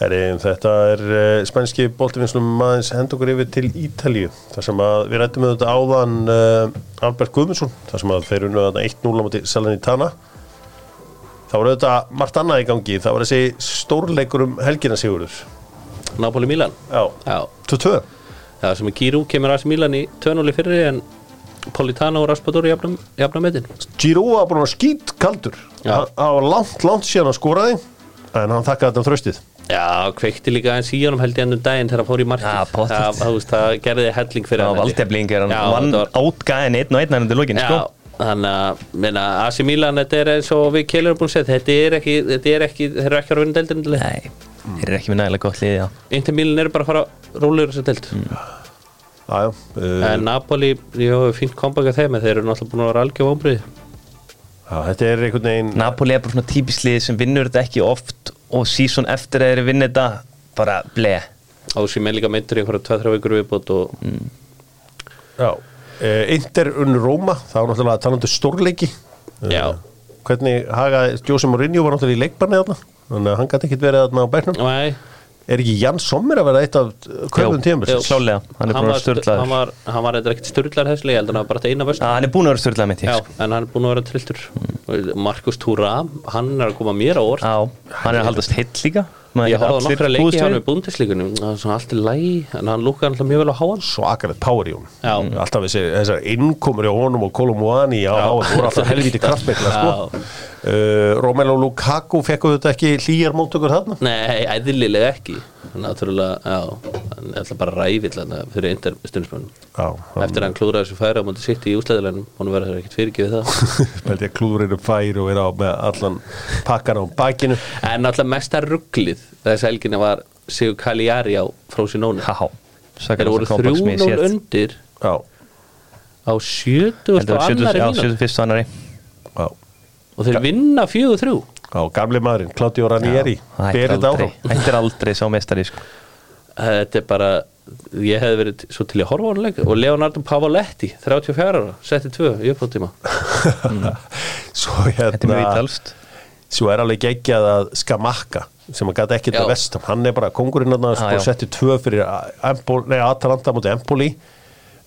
Heri, þetta er uh, spænski boltivinnslum aðeins hend okkur yfir til Ítalíu þar sem að við rættum með þetta áðan uh, Albert Guðmundsson þar sem að þeir unnu þetta 1-0 á móti Salernitana þá var auðvitað margt annað í gangi það var þessi stórleikur um helgina Sigurður
Napoli Milan
Já,
Já,
2-2
það sem að Giroud kemur aðeins Milan í 2-0 fyrir en Politano og Raspadori jafna, jafna metin
Giroud var búin að skýt kaldur
Já.
hann hann var langt, langt síðan að skoraði en hann þakkaði þetta um þröstið
Já, kveikti líka eins í honum held ég ennum daginn þegar hann fór í markið
Já, pottþétt.
það, það, veist, það gerði helling fyrir
Það var
held ég.
valdefling er hann
Já,
vann
þetta var-
átgæðin einn og einn hann undir lokin sko.
Já, þannig að meina, AC Milan, þetta er eins og við Kjellur erum búin að segja, þetta er ekki, þetta er ekki þeir eru ekki að vinna deildin
Nei, þeir eru ekki með nægilega gott liði já.
Inter Milan eru bara að fara að rúla yfir þessa deild
Mm.
Já, já,
en Napoli, ég hef fínt kompaka þeim en þeir eru náttúrulega búin að vera algjör vombrið
þetta er einhvern veginn
Napoli er bara svona típisk liði sem vinnur þetta ekki oft og síson eftir að þeir vinna þetta bara blei
og sem er líka meintur í einhverja 2-3 vikur viðbót og
Mm.
Já, uh, Inter unn Róma, það var náttúrulega talandi um stórleiki Eh,
Já.
Hvernig hagaði, Jose Mourinho var náttúrulega í leikbarni þarna Þannig að hann gæti ekkit verið þarna á bæknum
Nei,
Er ekki Jan Sommer að vera eitt af köpum
jú.
tíðanbilsins?
klálega, hann er búin að
var-
vera sturlaður.
Hann var, hann var eitthvað ekkert sturlar hessli, ég held að hann var bara þetta eina vöst
að hann er búin að vera störðlega mitt
Já,
ég, sko.
en hann er búin að vera trilltur
Mm.
Markus Thuram, hann er að koma mér á orð
á, hann er að haldast heill líka Maður
Ég
hefur
horfði á
allir
nokkra leiki
búist
hjá hann
við.
í búndisleikunum Það var svona allt í lægi, en hann lúkaði alltaf mjög vel á háan
Svo akkarlegt power í hún
Já.
Alltaf þessi, þessar innkomur í honum og Kolumwani Já, það voru alltaf helviti kraftmikla sko. uh, Romelu Lukaku fekk þetta ekki hlýjar móttökur þarna
Nei, æðlilega ekki Náttúrulega, já Hann er alltaf bara ræfill hann fyrir eindir stundismönnum
Já, hann
Eftir að hann klúðraði þessu færi á móti sitt í úsleðilænum Hún verður ekkert fyrirgefið það
Bældi að klúðurinn um fær og vera á með allan pakkan á bakinu
En náttúrulega mesta rugglið Þess helginni var Sigur Kaljari á Frosinone
Há,
Þeir
svakar
voru
þessar kompaks
3-0
mér sétt
undir
Já,
á 70
heldur
og
það
annari
var
mínútu
71 annari
já
og þeir vinna 4-3
Já, gamli maðurinn, Claudio Ranieri
hættir
berið þetta
aldrei,
áfram
hættir aldrei sá mestari sko.
þetta er bara ég hefði verið svo til að horfa á hann leik og Leonardo Pavoletti, 34 ára setti tvö í uppáttíma
Svo
Mm. þetta er mjög
hérna,
ítalst
svo er alveg geggjað að Skamakka sem að gæti ekkert
Já.
að vestam hann er bara kongurinn að
Já,
sko,
já.
setti tvö fyrir A- Empol, nei, Atalanta mútið Empoli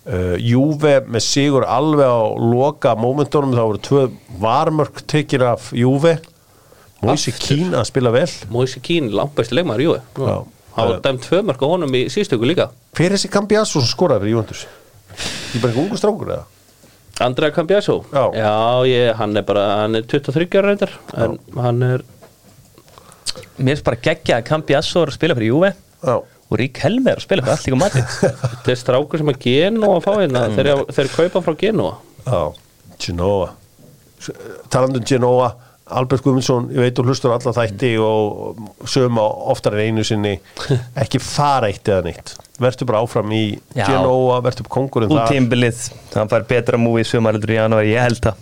uh, Júve með sigur alveg á loka momentunum þá voru tvö varmörk tekir af Júve Moise
Aftur.
Kín að spila vel
Moise Keane, langbæsti leikmaður, jú
Já.
hann var dæmt tvö mörg á honum í síðstöku líka
Hver er þessi Kambiasso sem skoraði fyrir Júventus? Ég er bara ekki ungu strákur eða?
Andrea Cambiasso
Já.
ég, hann er bara, hann er 23 ára reyndar en hann er
mér finnst bara geggja að Kambi Assor spila fyrir Juve
Já,
og Rík Helmer að spila fyrir allt líka matið
þetta er strákur sem að Genoa fá hérna þeir, þeir kaupa hann frá Genoa
já, Genoa Talandum um Genoa Albert Guðmundsson, ég veit og hlustur á alla þætti
Mm.
og sögum á oftar en einu sinni ekki fara eitt eða neitt verður bara áfram í
Já.
Genoa verður upp kongurinn
út tímbilið hann fær betra múi í sumareldur í janúar ég held það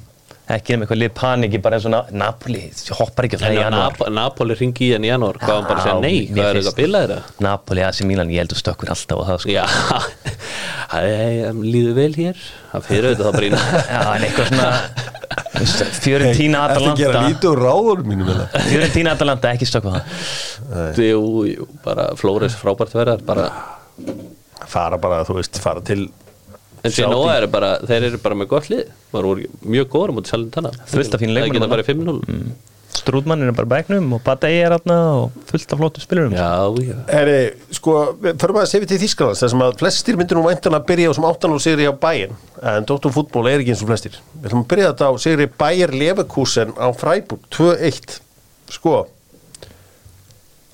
ekki um eitthvað lið paniki bara eins og Na- Napoli hoppar ekki á það í
en að
janúar
Nap Napoli ringi í hann í janúar hvað hann bara að segja
Já,
nei, hvað
mér
er
finnst-
eitthvað bilaðir það
Napoli, AC Milan, ég held að stökkur alltaf á það sko.
Já, það er- líður vel hér Það fyrir auðvitað það brína
já, en eitthvað svona Fjörentína
gera
Atalanta
lítið úr ráður mínum með það
Fjörentína Atalanta, ekki stökkur á það
Jú, jú, bara Flóres frábært verðar bara,
fara bara, þú veist, fara til
En Genoa eru bara, þeir eru bara með gott lið Var voru mjög góður mútið Salentana
Fullt af fínum leikmönnum
Það geta
þarna.
bara 5-0
Mm.
Strúdmann er bara á bæknum og Badei er aðna og fullt af flottum spilurum
Já, já
Heri, sko, við förum að sefi til Þískalands þar sem að flestir myndir nú væntanlega byrja á sem 8-0 sigri á bæin en Dóttur fútból er ekki eins og flestir Við ætlum að byrja þetta á sigri bæjar Leverkusen á Freiburg 2-1 Sko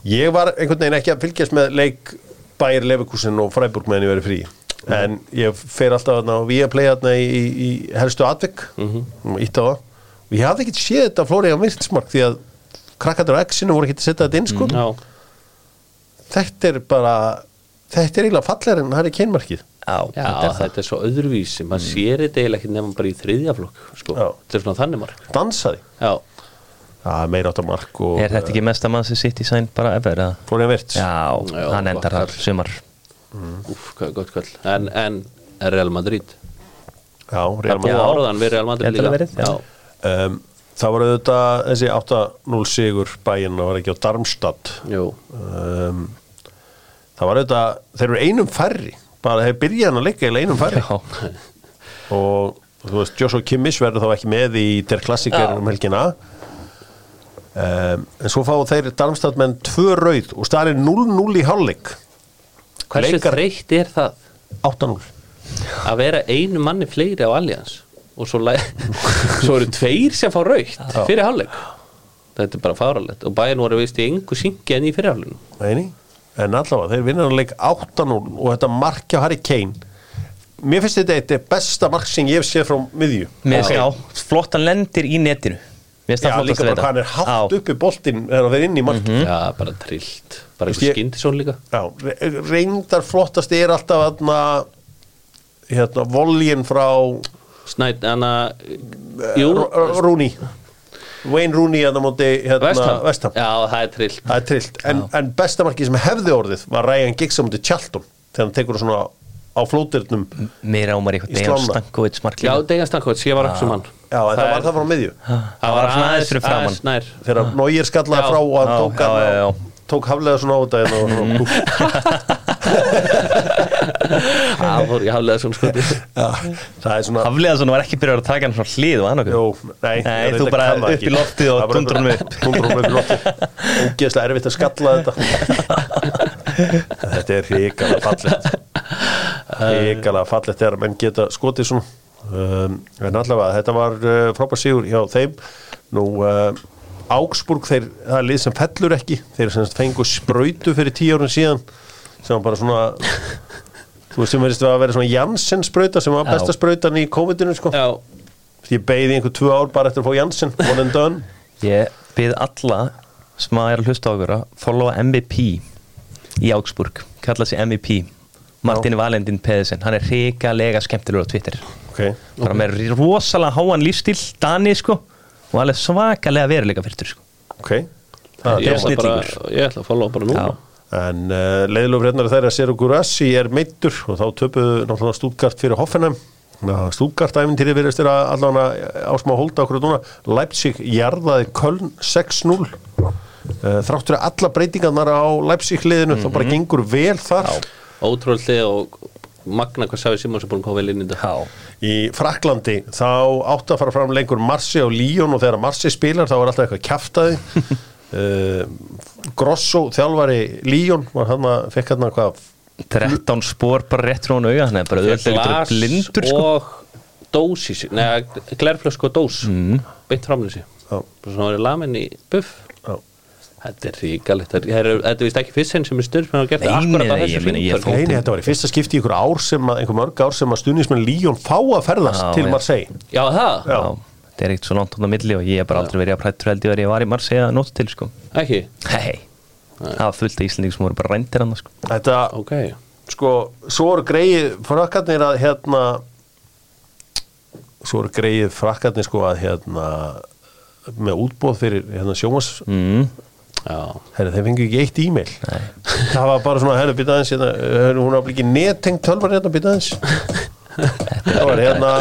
Ég var einhvern veginn ekki að fylgjast með leik bæjar Leverkusen og Freiburg meðan ég verið frí en ég fer alltaf þarna og við að playa þarna í, í, í helstu atvik mm -hmm. á það og ég hafði ekkert séð þetta Flóriða Mirtsmark því að krakkandur á X-inu voru ekki að setja þetta inn sko
Já,
þetta er bara þetta er eiginlega fallegar en það er kynmarkið
Já,
Já, þetta, er svo öðruvísi, maður sér þetta eiginlega ekki nefnum bara í þriðja flokk, sko.
Mm. Já.
Þetta er svona þannig mark.
dansaði,
Já,
það er meira áttar mark og eh,
Er þetta ekki mesta mann sem sitt í sæn bara efer? eða?
Florian Virts
Já,
Já,
hann endar
gott
þar
kall.
sumar
úf, hvað er gott kvöld. En, en Real Madrid,
Já, Real
það búið
Madrid.
áraðan við Real
Ég
Madrid
held að
líka.
verið, já.
um, það var auðvitað þessi 8-0 sigur bæinn það var ekki á Darmstadt
jú,
um, það var auðvitað þeir eru einum færri bara þeir byrja hann að leika eða einum færri
Já,
og þú veist, Joshua Kimmich verður þá ekki með í Der Klassiker
Já.
um helgina um, en svo fá þeir Darmstadt menn tvö rauð og staðar er 0-0 í hálfleik
hversu
Leikar-
þreytt er það
8-0
að vera einu manni fleiri á Allianz og svo, læ- svo eru tveir sem fá raukt fyrir hálfleik. Þetta er bara fáralegt og bæinn voru vist í engu syngi en í fyrirhálfleikinu.
Eini? en allavega, þeir vinna hann leik 8-0 og þetta markja Harry Kane mér finnst þetta eitt besta mark sem ég hef séð frá miðju
Mér finnst- já, flott hann lendir í netinu Mér finnst
Já,
það flottast
líka
við
bara
þetta
hvað hann er hátt
Já.
upp í boltinn þegar þeir inn í markið
Já, bara trillt, bara
Veist Hm? ég-
einhver skyndisón líka.
Já, re- reyndar flottast er alltaf hérna, hérna voljin frá
Snæt, hana, jú,
Rú- Rú- Rúni Wayne Rúni hérna móti hérna,
Vestam.
Vestam
Já, það er trillt.
Það er trillt, en, en besta markið sem hefði orðið var Ryan Giggs á móti Charlton þegar hann tekur svona á flótirnum
Mér ámar eitthvað
Í
Dejan
slána.
Stankovic markið
Já, Dejan Stankovic, ég var ekki sem hann
Já, en það,
er-
var það frá miðju
Það var
svona
aðeins
fyrir framan.
aðeins nær
þegar ah. Nóir skallaði
Já.
frá og hann
Já,
tók,
já,
hann
já, já.
og, tók haflega svona á þetta hérna og, og, og,
Það fór ég haflega svona skoti
já, það er svona
Hafleðarsson var ekki byrjar að taka hann frá hlið og hann okkur
Jú, nei,
Nei,
ég
þú
reyndar
bara
kann það
upp í
ekki.
loftið og
Það er bara
dundrar honum
eitthvað-
upp.
Dundrar honum upp í loftið Ógeðslega erfitt að skalla þetta Þetta er hrikalega fallegt Hrikalega fallegt þegar menn geta skotið svona um, En allavega, þetta var uh, frábær sigur hjá þeim Nú, uh, Augsburg, þeir, það er lið sem fellur ekki Þeir sem sagt fengu sprautu fyrir tíu árun síðan sem var bara svona Þú veist sem verðist að vera svona Janssen sprauta sem var
Já.
besta sprautan í COVID-19 sko.
Já,
Ég beigði einhver tvö ár bara eftir að fá Janssen One and done
Ég byrð alla sem að er að hlusta á okkur að followa MVP í Augsburg kalla sig MVP Martin Valendin Pedersen, hann er hrikalega skemmtilegur á Twitter
okay.
bara með rosalega háan lífstíl Dani sko og alveg svakalega veruleika fyrir sko.
Okay. Það
ég
er
ætla,
tómað.
bara, ég ætla að followa bara núna
Já.
En uh, leiðilega frétnar þeirra Seru Gurassi er meittur og þá töpuðu náttúrulega stúlgart fyrir Hoffenheim Stúlgart-æfintýri virðist þeirra allavega ásmá hólda okkur núna Leipzig jarðaði Köln 6-0 uh, Þráttur að alla breytingarnar á Leipzig-liðinu þá bara gengur vel þar
Ótrúlega og Magna hvað sagði Simons er búin að koma vel inn í þetta
Já,
Í Fraklandi þá átt að fara fram lengur Marsi á Líón og þegar Marsi spilar þá er alltaf eitthvað kjaftaði uh, Grosso, þjálfari Líón, var hann að hérna fekk hann að hvað
13 spór bara rétt frá hún auga hann er bara öðvöldlega
Glas
blindur sko.
og dós í sig Nei, glerflösku og dós mm. Beint framlýsi
Já.
Svo er lamin í buff
Já.
Þetta er ríkalegt Þetta er- þetta er vist ekki fyrst henn sem er styrf en hann gert það
Nei,
akkurat á
nei,
þessu
ég meina, ég
hringtorgi.
fór-
Nei, nei, þetta var í fyrsta skipti í einhver ár sem að, einhver mörg ár sem að stuðnismenn Líón fá að ferðast
Já,
til
já.
Marseille
Já, það?
Já.
Já, það er ekkert svo langt hún á milli og ég er bara aldrei verið að prættur held ég verið að ég var í Marseille að nóta til sko.
Ekki?
Hei, það var fullt af Íslanding sem voru bara rændir hann sko.
Þetta,
Ok
sko, svo eru greið frakkarnir að hérna svo eru greið frakkarnir sko að hérna með útbóð fyrir hérna sjómas
mm.
Já
Herri, þeir fengu ekki eitt e-mail Það var bara svona, herri, býta aðeins hérna, herri, Hún var ekki nettengt tölvar hérna, býta aðeins Það var hérna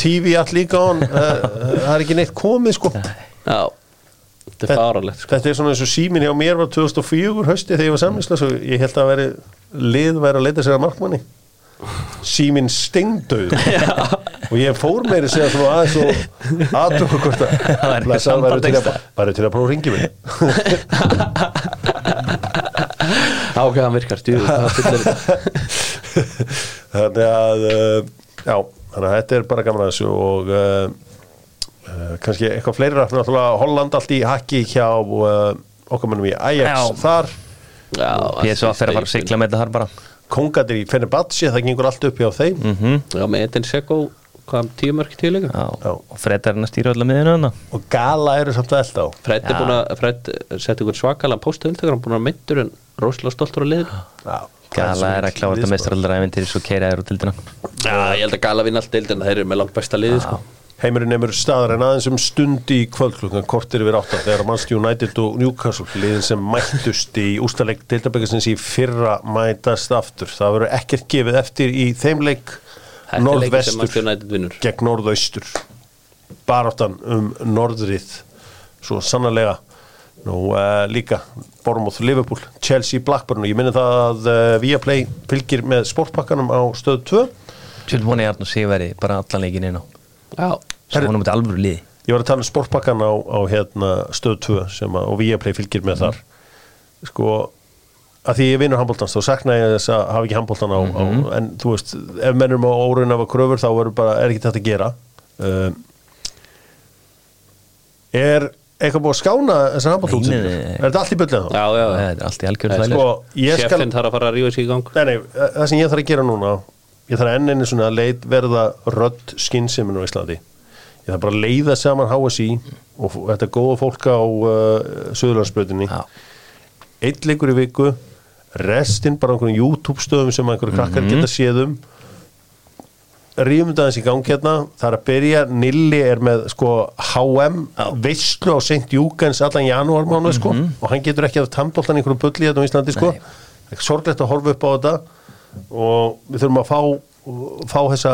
TV allt líka on Það eh, það er ekki neitt komið sko
Já Þetta er fáralegt sko.
Þetta er svona eins og símin hjá mér var 2004 hösti þegar ég var samlingslega svo ég held að veri lið væri að leita sér að markmanni símin steindauð og ég fór meiri segja svona aðeins og aðtöku hvort að
Það væri
blessaður væri til að
samband
bara til að prófa að ringi mig
Já, ok, hann virkar stjúður Það fyllir
þannig að uh, já, þannig að þetta er bara gaman að þessu og uh, uh, kannski eitthvað fleiri rætt náttúrulega Holland allt í hakki hjá uh, okkar mönnum í Ajax
Já.
þar
Já,
PSV fer að fara að sigla með þetta þar bara Mm.
kongatir í Fenerbahce, það gengur allt upp hjá þeim
Já, með Eden Seko hvað, tíu mörg tíu leikum?
Já, og Fred er hann að stýra öll að miðinu hann
Og gala eru samt velt á
Fred er
Já.
búin að, Fred setja ykkur svakalega póstu hann búin að vera myndur en rosalega stoltur á liðinu
Já,
Gala er að klára þetta
meistar
mestraraldar ævintýri svo keira er úr dildina
Já, ég held að Gala vinna allt deildina, þeir eru með langt besta liði sko.
Heimurinn nefnur staðar en aðeins um stund í kvöldklukkan kortir yfir áttar þegar Manchester United og Newcastle liðin sem mættust í ústaleg deildabækasins í fyrra mætast aftur. Það verður ekkert gefið eftir í þeim leik
Þetta er leikur sem Manchester
norðvestur
United vinnur
gegn norðaustur. Baráttan um norðrið svo sannarlega nú uh, líka Bournemouth Liverpool, Chelsea Blackburn og ég minni það að uh, Viaplay fylgir með sportpakkanum á stöð 2
Tjöld voni ég Arnur Sigveri bara allan leikin inn á
Já,
Svo
Herri-
vonum þetta alvöru liði
Ég var að tala um sportpakkan á, á hérna, stöð 2 sem að, og Viaplay fylgir með þar sko að því ég vinur handbóltans þá sakna ég þess að hafa ekki handbóltan á, á en þú veist, ef mennum á órun af að kröfur þá er, bara, er ekki þetta að gera um, Er eitthvað búið að skána þessar handbóltan
Nei, nei, nei.
Er þetta allt í byllið þá?
já, já,
Það
já.
er allt í algjörðu
Nei,
þvælu
Sko, ég skal
Sjefinn þarf að fara að rífa sig í gang
Nei, nei, það sem ég þarf að gera núna ég þarf enn einu svona að leit verða rödd skynseimin á Íslandi ég þarf bara að leiða saman HSI og f- þetta góða fólk á uh, Suðurlandsbröðinni
Já.
eitt leikur í viku restinn bara á einhverjum YouTube stöðum sem einhverjum krakkar geta séð um rýfum þetta aðeins í gang hérna það er að byrja, Nilli er með sko HM, veistlu á St. Júkens allan janúar mánuð sko og hann getur ekki að tamdóltan einhverju bulli hérna á Íslandi sko,
Nei.
Ekki sorglegt að horfa upp á þetta og við þurfum að fá fá þessa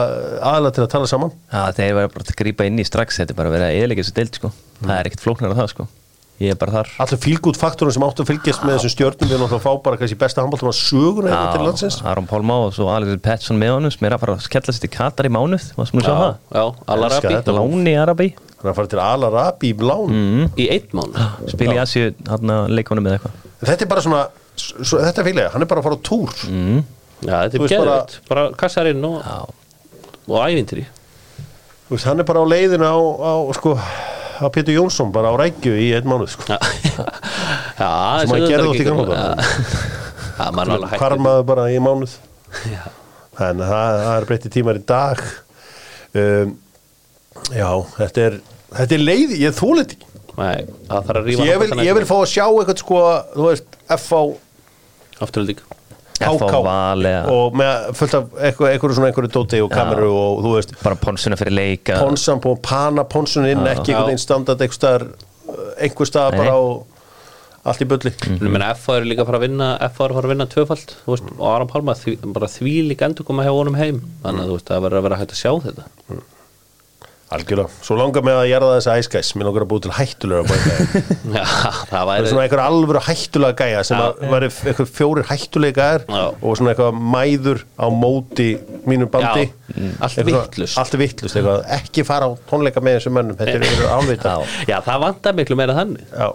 aðla til að tala saman
Já, þeir verða bara að grípa inn í strax Þetta er bara að vera eðilegis og deild sko Það er ekkert flóknar að það sko Ég er bara þar
allur fílgút faktorinn sem áttu að fylgjast með þessum stjörnum við erum náttúrulega að fá bara kannski besta handbóltum að söguna hérna til landsins
Aron Pálmá og svo Alexander Pettersson með honum sem er að fara að skella sér til Katar í mánuð Varst mér að sjá
Já,
það?
já, Alarabi
Elska þetta.
Láni í Arabi
hann er að fara til Al-Arabi í blán
í eitt mán
Spil í Asju, hann að leikunum eða eitthvað
þetta er bara svona, svo, þetta fílega, hann er bara að fara á túr
Já, þetta
Þú
er
veist bara-
geðvitt, bara kassarinn og,
Já.
og ævintri
Þú veist, hann er bara á leiðinu á, á sko, á Pétur Jónsson, bara á rækju í einn mánuð, sko.
Já, það
Sem að
sögðu
gerði út
þetta
í
ekki
gamla
gaman.
daga.
Já, Já, maður er alveg hægt
Karmaður bara í mánuð.
Já.
Þannig að það, það er breytti tímar í dag. Um, já, þetta er, þetta er leið, ég þúl þetta ekki.
Nei, það þarf að
Ég
rífa
vil,
handboltann
ég vil
eftir.
fá að sjá eitthvað, sko, þú veist, F.A.
Afturölding
HK
FH Val eða-
og með fullt af eitthvað, eitthvað svona einhverju dóti og kameru og þú veist,
Bara ponsuna fyrir leika
ponsan búin að pana ponsun inn,
Já.
ekki einhvern veginn standart einhver staðar, einhver staðar
Nei.
bara á allt í bulli.
Ég meina F.A. er líka að fara að vinna F.A. er að fara að vinna tvöfald þú veist, og Aron Palma því, bara því líka endur koma hjá honum heim þannig að þú veist, það verður að vera hægt að sjá þetta
Algjörlega, svo langar mig að jarða þessa æskæs mér langar að búið til hættulega bæta
Já, það
það er
væri
svona einhver alvöru hættulega gæja sem
Já.
að væri einhver fjórir hættulega gæjar
Já.
og svona eitthvað mæður á móti mínu bandi
Já, mm. Allt
Eitthvað svona-
vitlaust.
allt vittlust, eitthvað ekki fara á tónleika með þessum mönnum, þetta eru- eru ánvita
Já, það vantar miklu meira þannig
Já.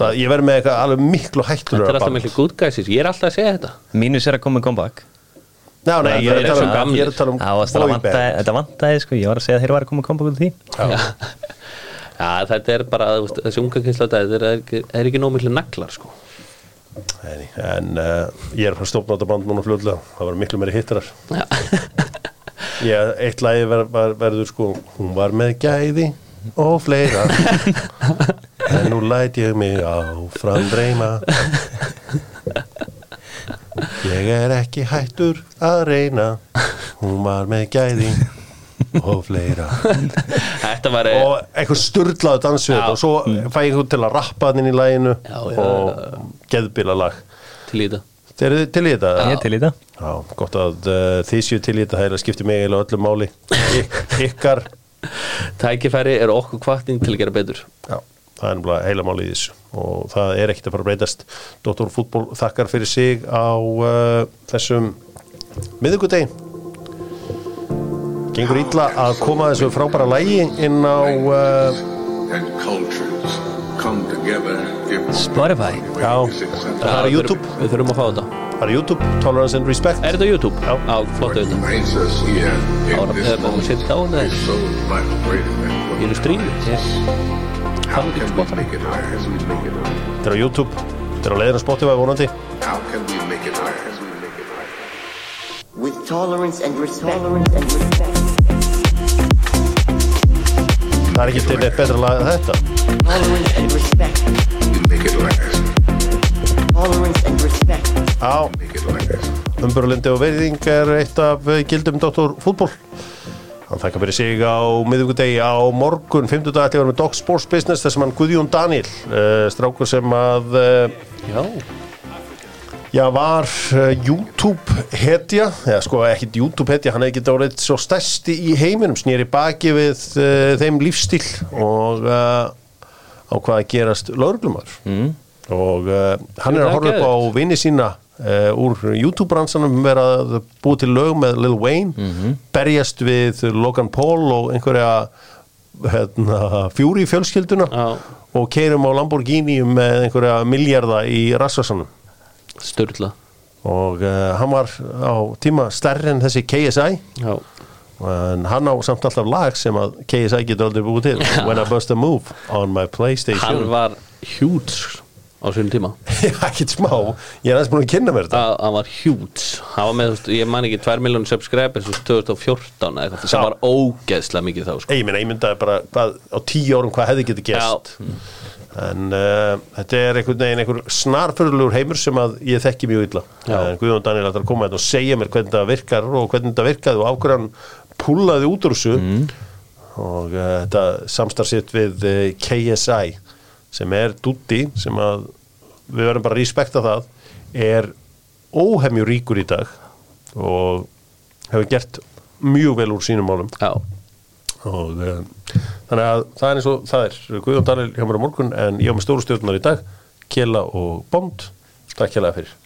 Það, ég verð með eitthvað alveg miklu
Þetta er
hættulega
alltaf miklu gútgæsis, ég er alltaf að segja þetta
Mínus er að koma með comeback
Ná, nei, ég er að
Þetta er
tala um,
gamlir.
ég er að tala um
Já, það var-
boyband.
vantaði- Þetta vantaði sko, ég var að segja að þeir var að koma með comeback út af því
Já, þetta er bara þú veist, þessi unga kynsla þetta þetta er, ekki- er ekki nóg miklu naglar sko.
Nei, en uh, ég er frá stofnátaband núna fljóðlega, það var miklu meiri hittarar
Já.
Já, eitt lagi ver, ver, verður sko Hún var með gæði og fleira En nú læt ég mig á framdreima Ég er ekki hættur að reyna Hún var með gæði og fleira
Þetta var
Og einhver sturlaðu dansvið
Já. Mm.
Og svo fæ ég hún til að rappa hann inn í laginu
Já, já.
Og geðbila lag
til í þetta
Þeir eru til í þetta?
Ég er til í þetta
Já, gott að uh, þið séu til í þetta Það er að skipti mig eiginlega öllu máli Yk, Ykkar
Tækifæri er okkur kvartning til að gera betur
Já, það er nefnilega heila málið í þessu og það er ekkert að fara að breytast Dr. Fútból þakkar fyrir sig á uh, þessum miðugudegi Gengur illa að koma þessu frábæra lægi inn á uh,
and cultures come together in
Spotify
Já, það er á YouTube
Við þurfum að fá þetta
Það er á YouTube, Tolerance and Respect
Er þetta á YouTube?
Já.
flott auðvitað
brings us here in
Ára,
this
eða bara
moment
setja á það
is so much greater than what
Í einu strími
How
Þannig
can
ekki
we
spottar
make it higher as we make it higher?
Þetta er á YouTube, þetta er á leiðin á Spotify vonandi
How can we make it higher as we make it higher?
with tolerance and respect. Tolerance and respect.
Það er ekki til neitt betra lag en þetta
Tolerance and respect.
You make it last.
Tolerance and respect.
Á,
Make it last.
umburlindi og verðing er eitt af eh, gildum Dr. Fútból Hann þakka fyrir sig á miðvíkudegi á morgun, 50 dag ætli að vera með Dog Sports Business þar sem hann Guðjón Daniel uh, strákur sem að uh,
Já,
Já, var uh, YouTube-hetja, eða sko ekkit YouTube-hetja, hann hefði getið orðið svo stærsti í heiminum, snýri baki við uh, þeim lífstíl og uh, á hvað að gerast lauruglumar. Mm. Og uh, hann er að
það
horfa upp á vini sína uh, úr YouTube-bransanum vera að búi til lög með Lil Wayne,
Mhm.
berjast við Logan Paul og einhverja hérna, fjúri fjölskylduna
Já.
og keirum á Lamborghini með einhverja miljarda í rassvarsanum
sturla
og uh, hann var á tíma stærri en þessi KSI
Já,
en hann á samt alltaf lag sem að KSI getur aldrei búið til When I Bust a Move on my
hann
Playstation
var huge á sínum tíma
ekki smá, ég er aðeins búin að kynna mér þetta
að hann var huge hann var með, þú veist, ég man ekki, 2 miljónu subscribers þú veist, 2014 eða eitthvað,
Já.
það var ógeðslega mikið þá sko.
Ei, ég minna, ég myndaði bara hvað, á tíu árum hvað hefði getið gerst en uh, þetta er einhvern veginn einhver snarfurlugur heimur sem að ég þekki mjög illa
Já.
en Guðjón Daniel ætlar að koma þetta og segja mér hvernig það virkar og hvernig þetta virkaði og af hverju hann púlaði út úr þessu og uh, þetta samstarfsitt við uh, KSI sem er dutti sem að við verðum bara að respekta það er óhemju ríkur í dag og hefur gert mjög vel úr sínum málum
já,
og uh, þannig að það er eins og það er Guðjón Daniel hjá mér á morgun en ég á með stóru stjórnar í dag Kjela og Bond Takk Kjela fyrir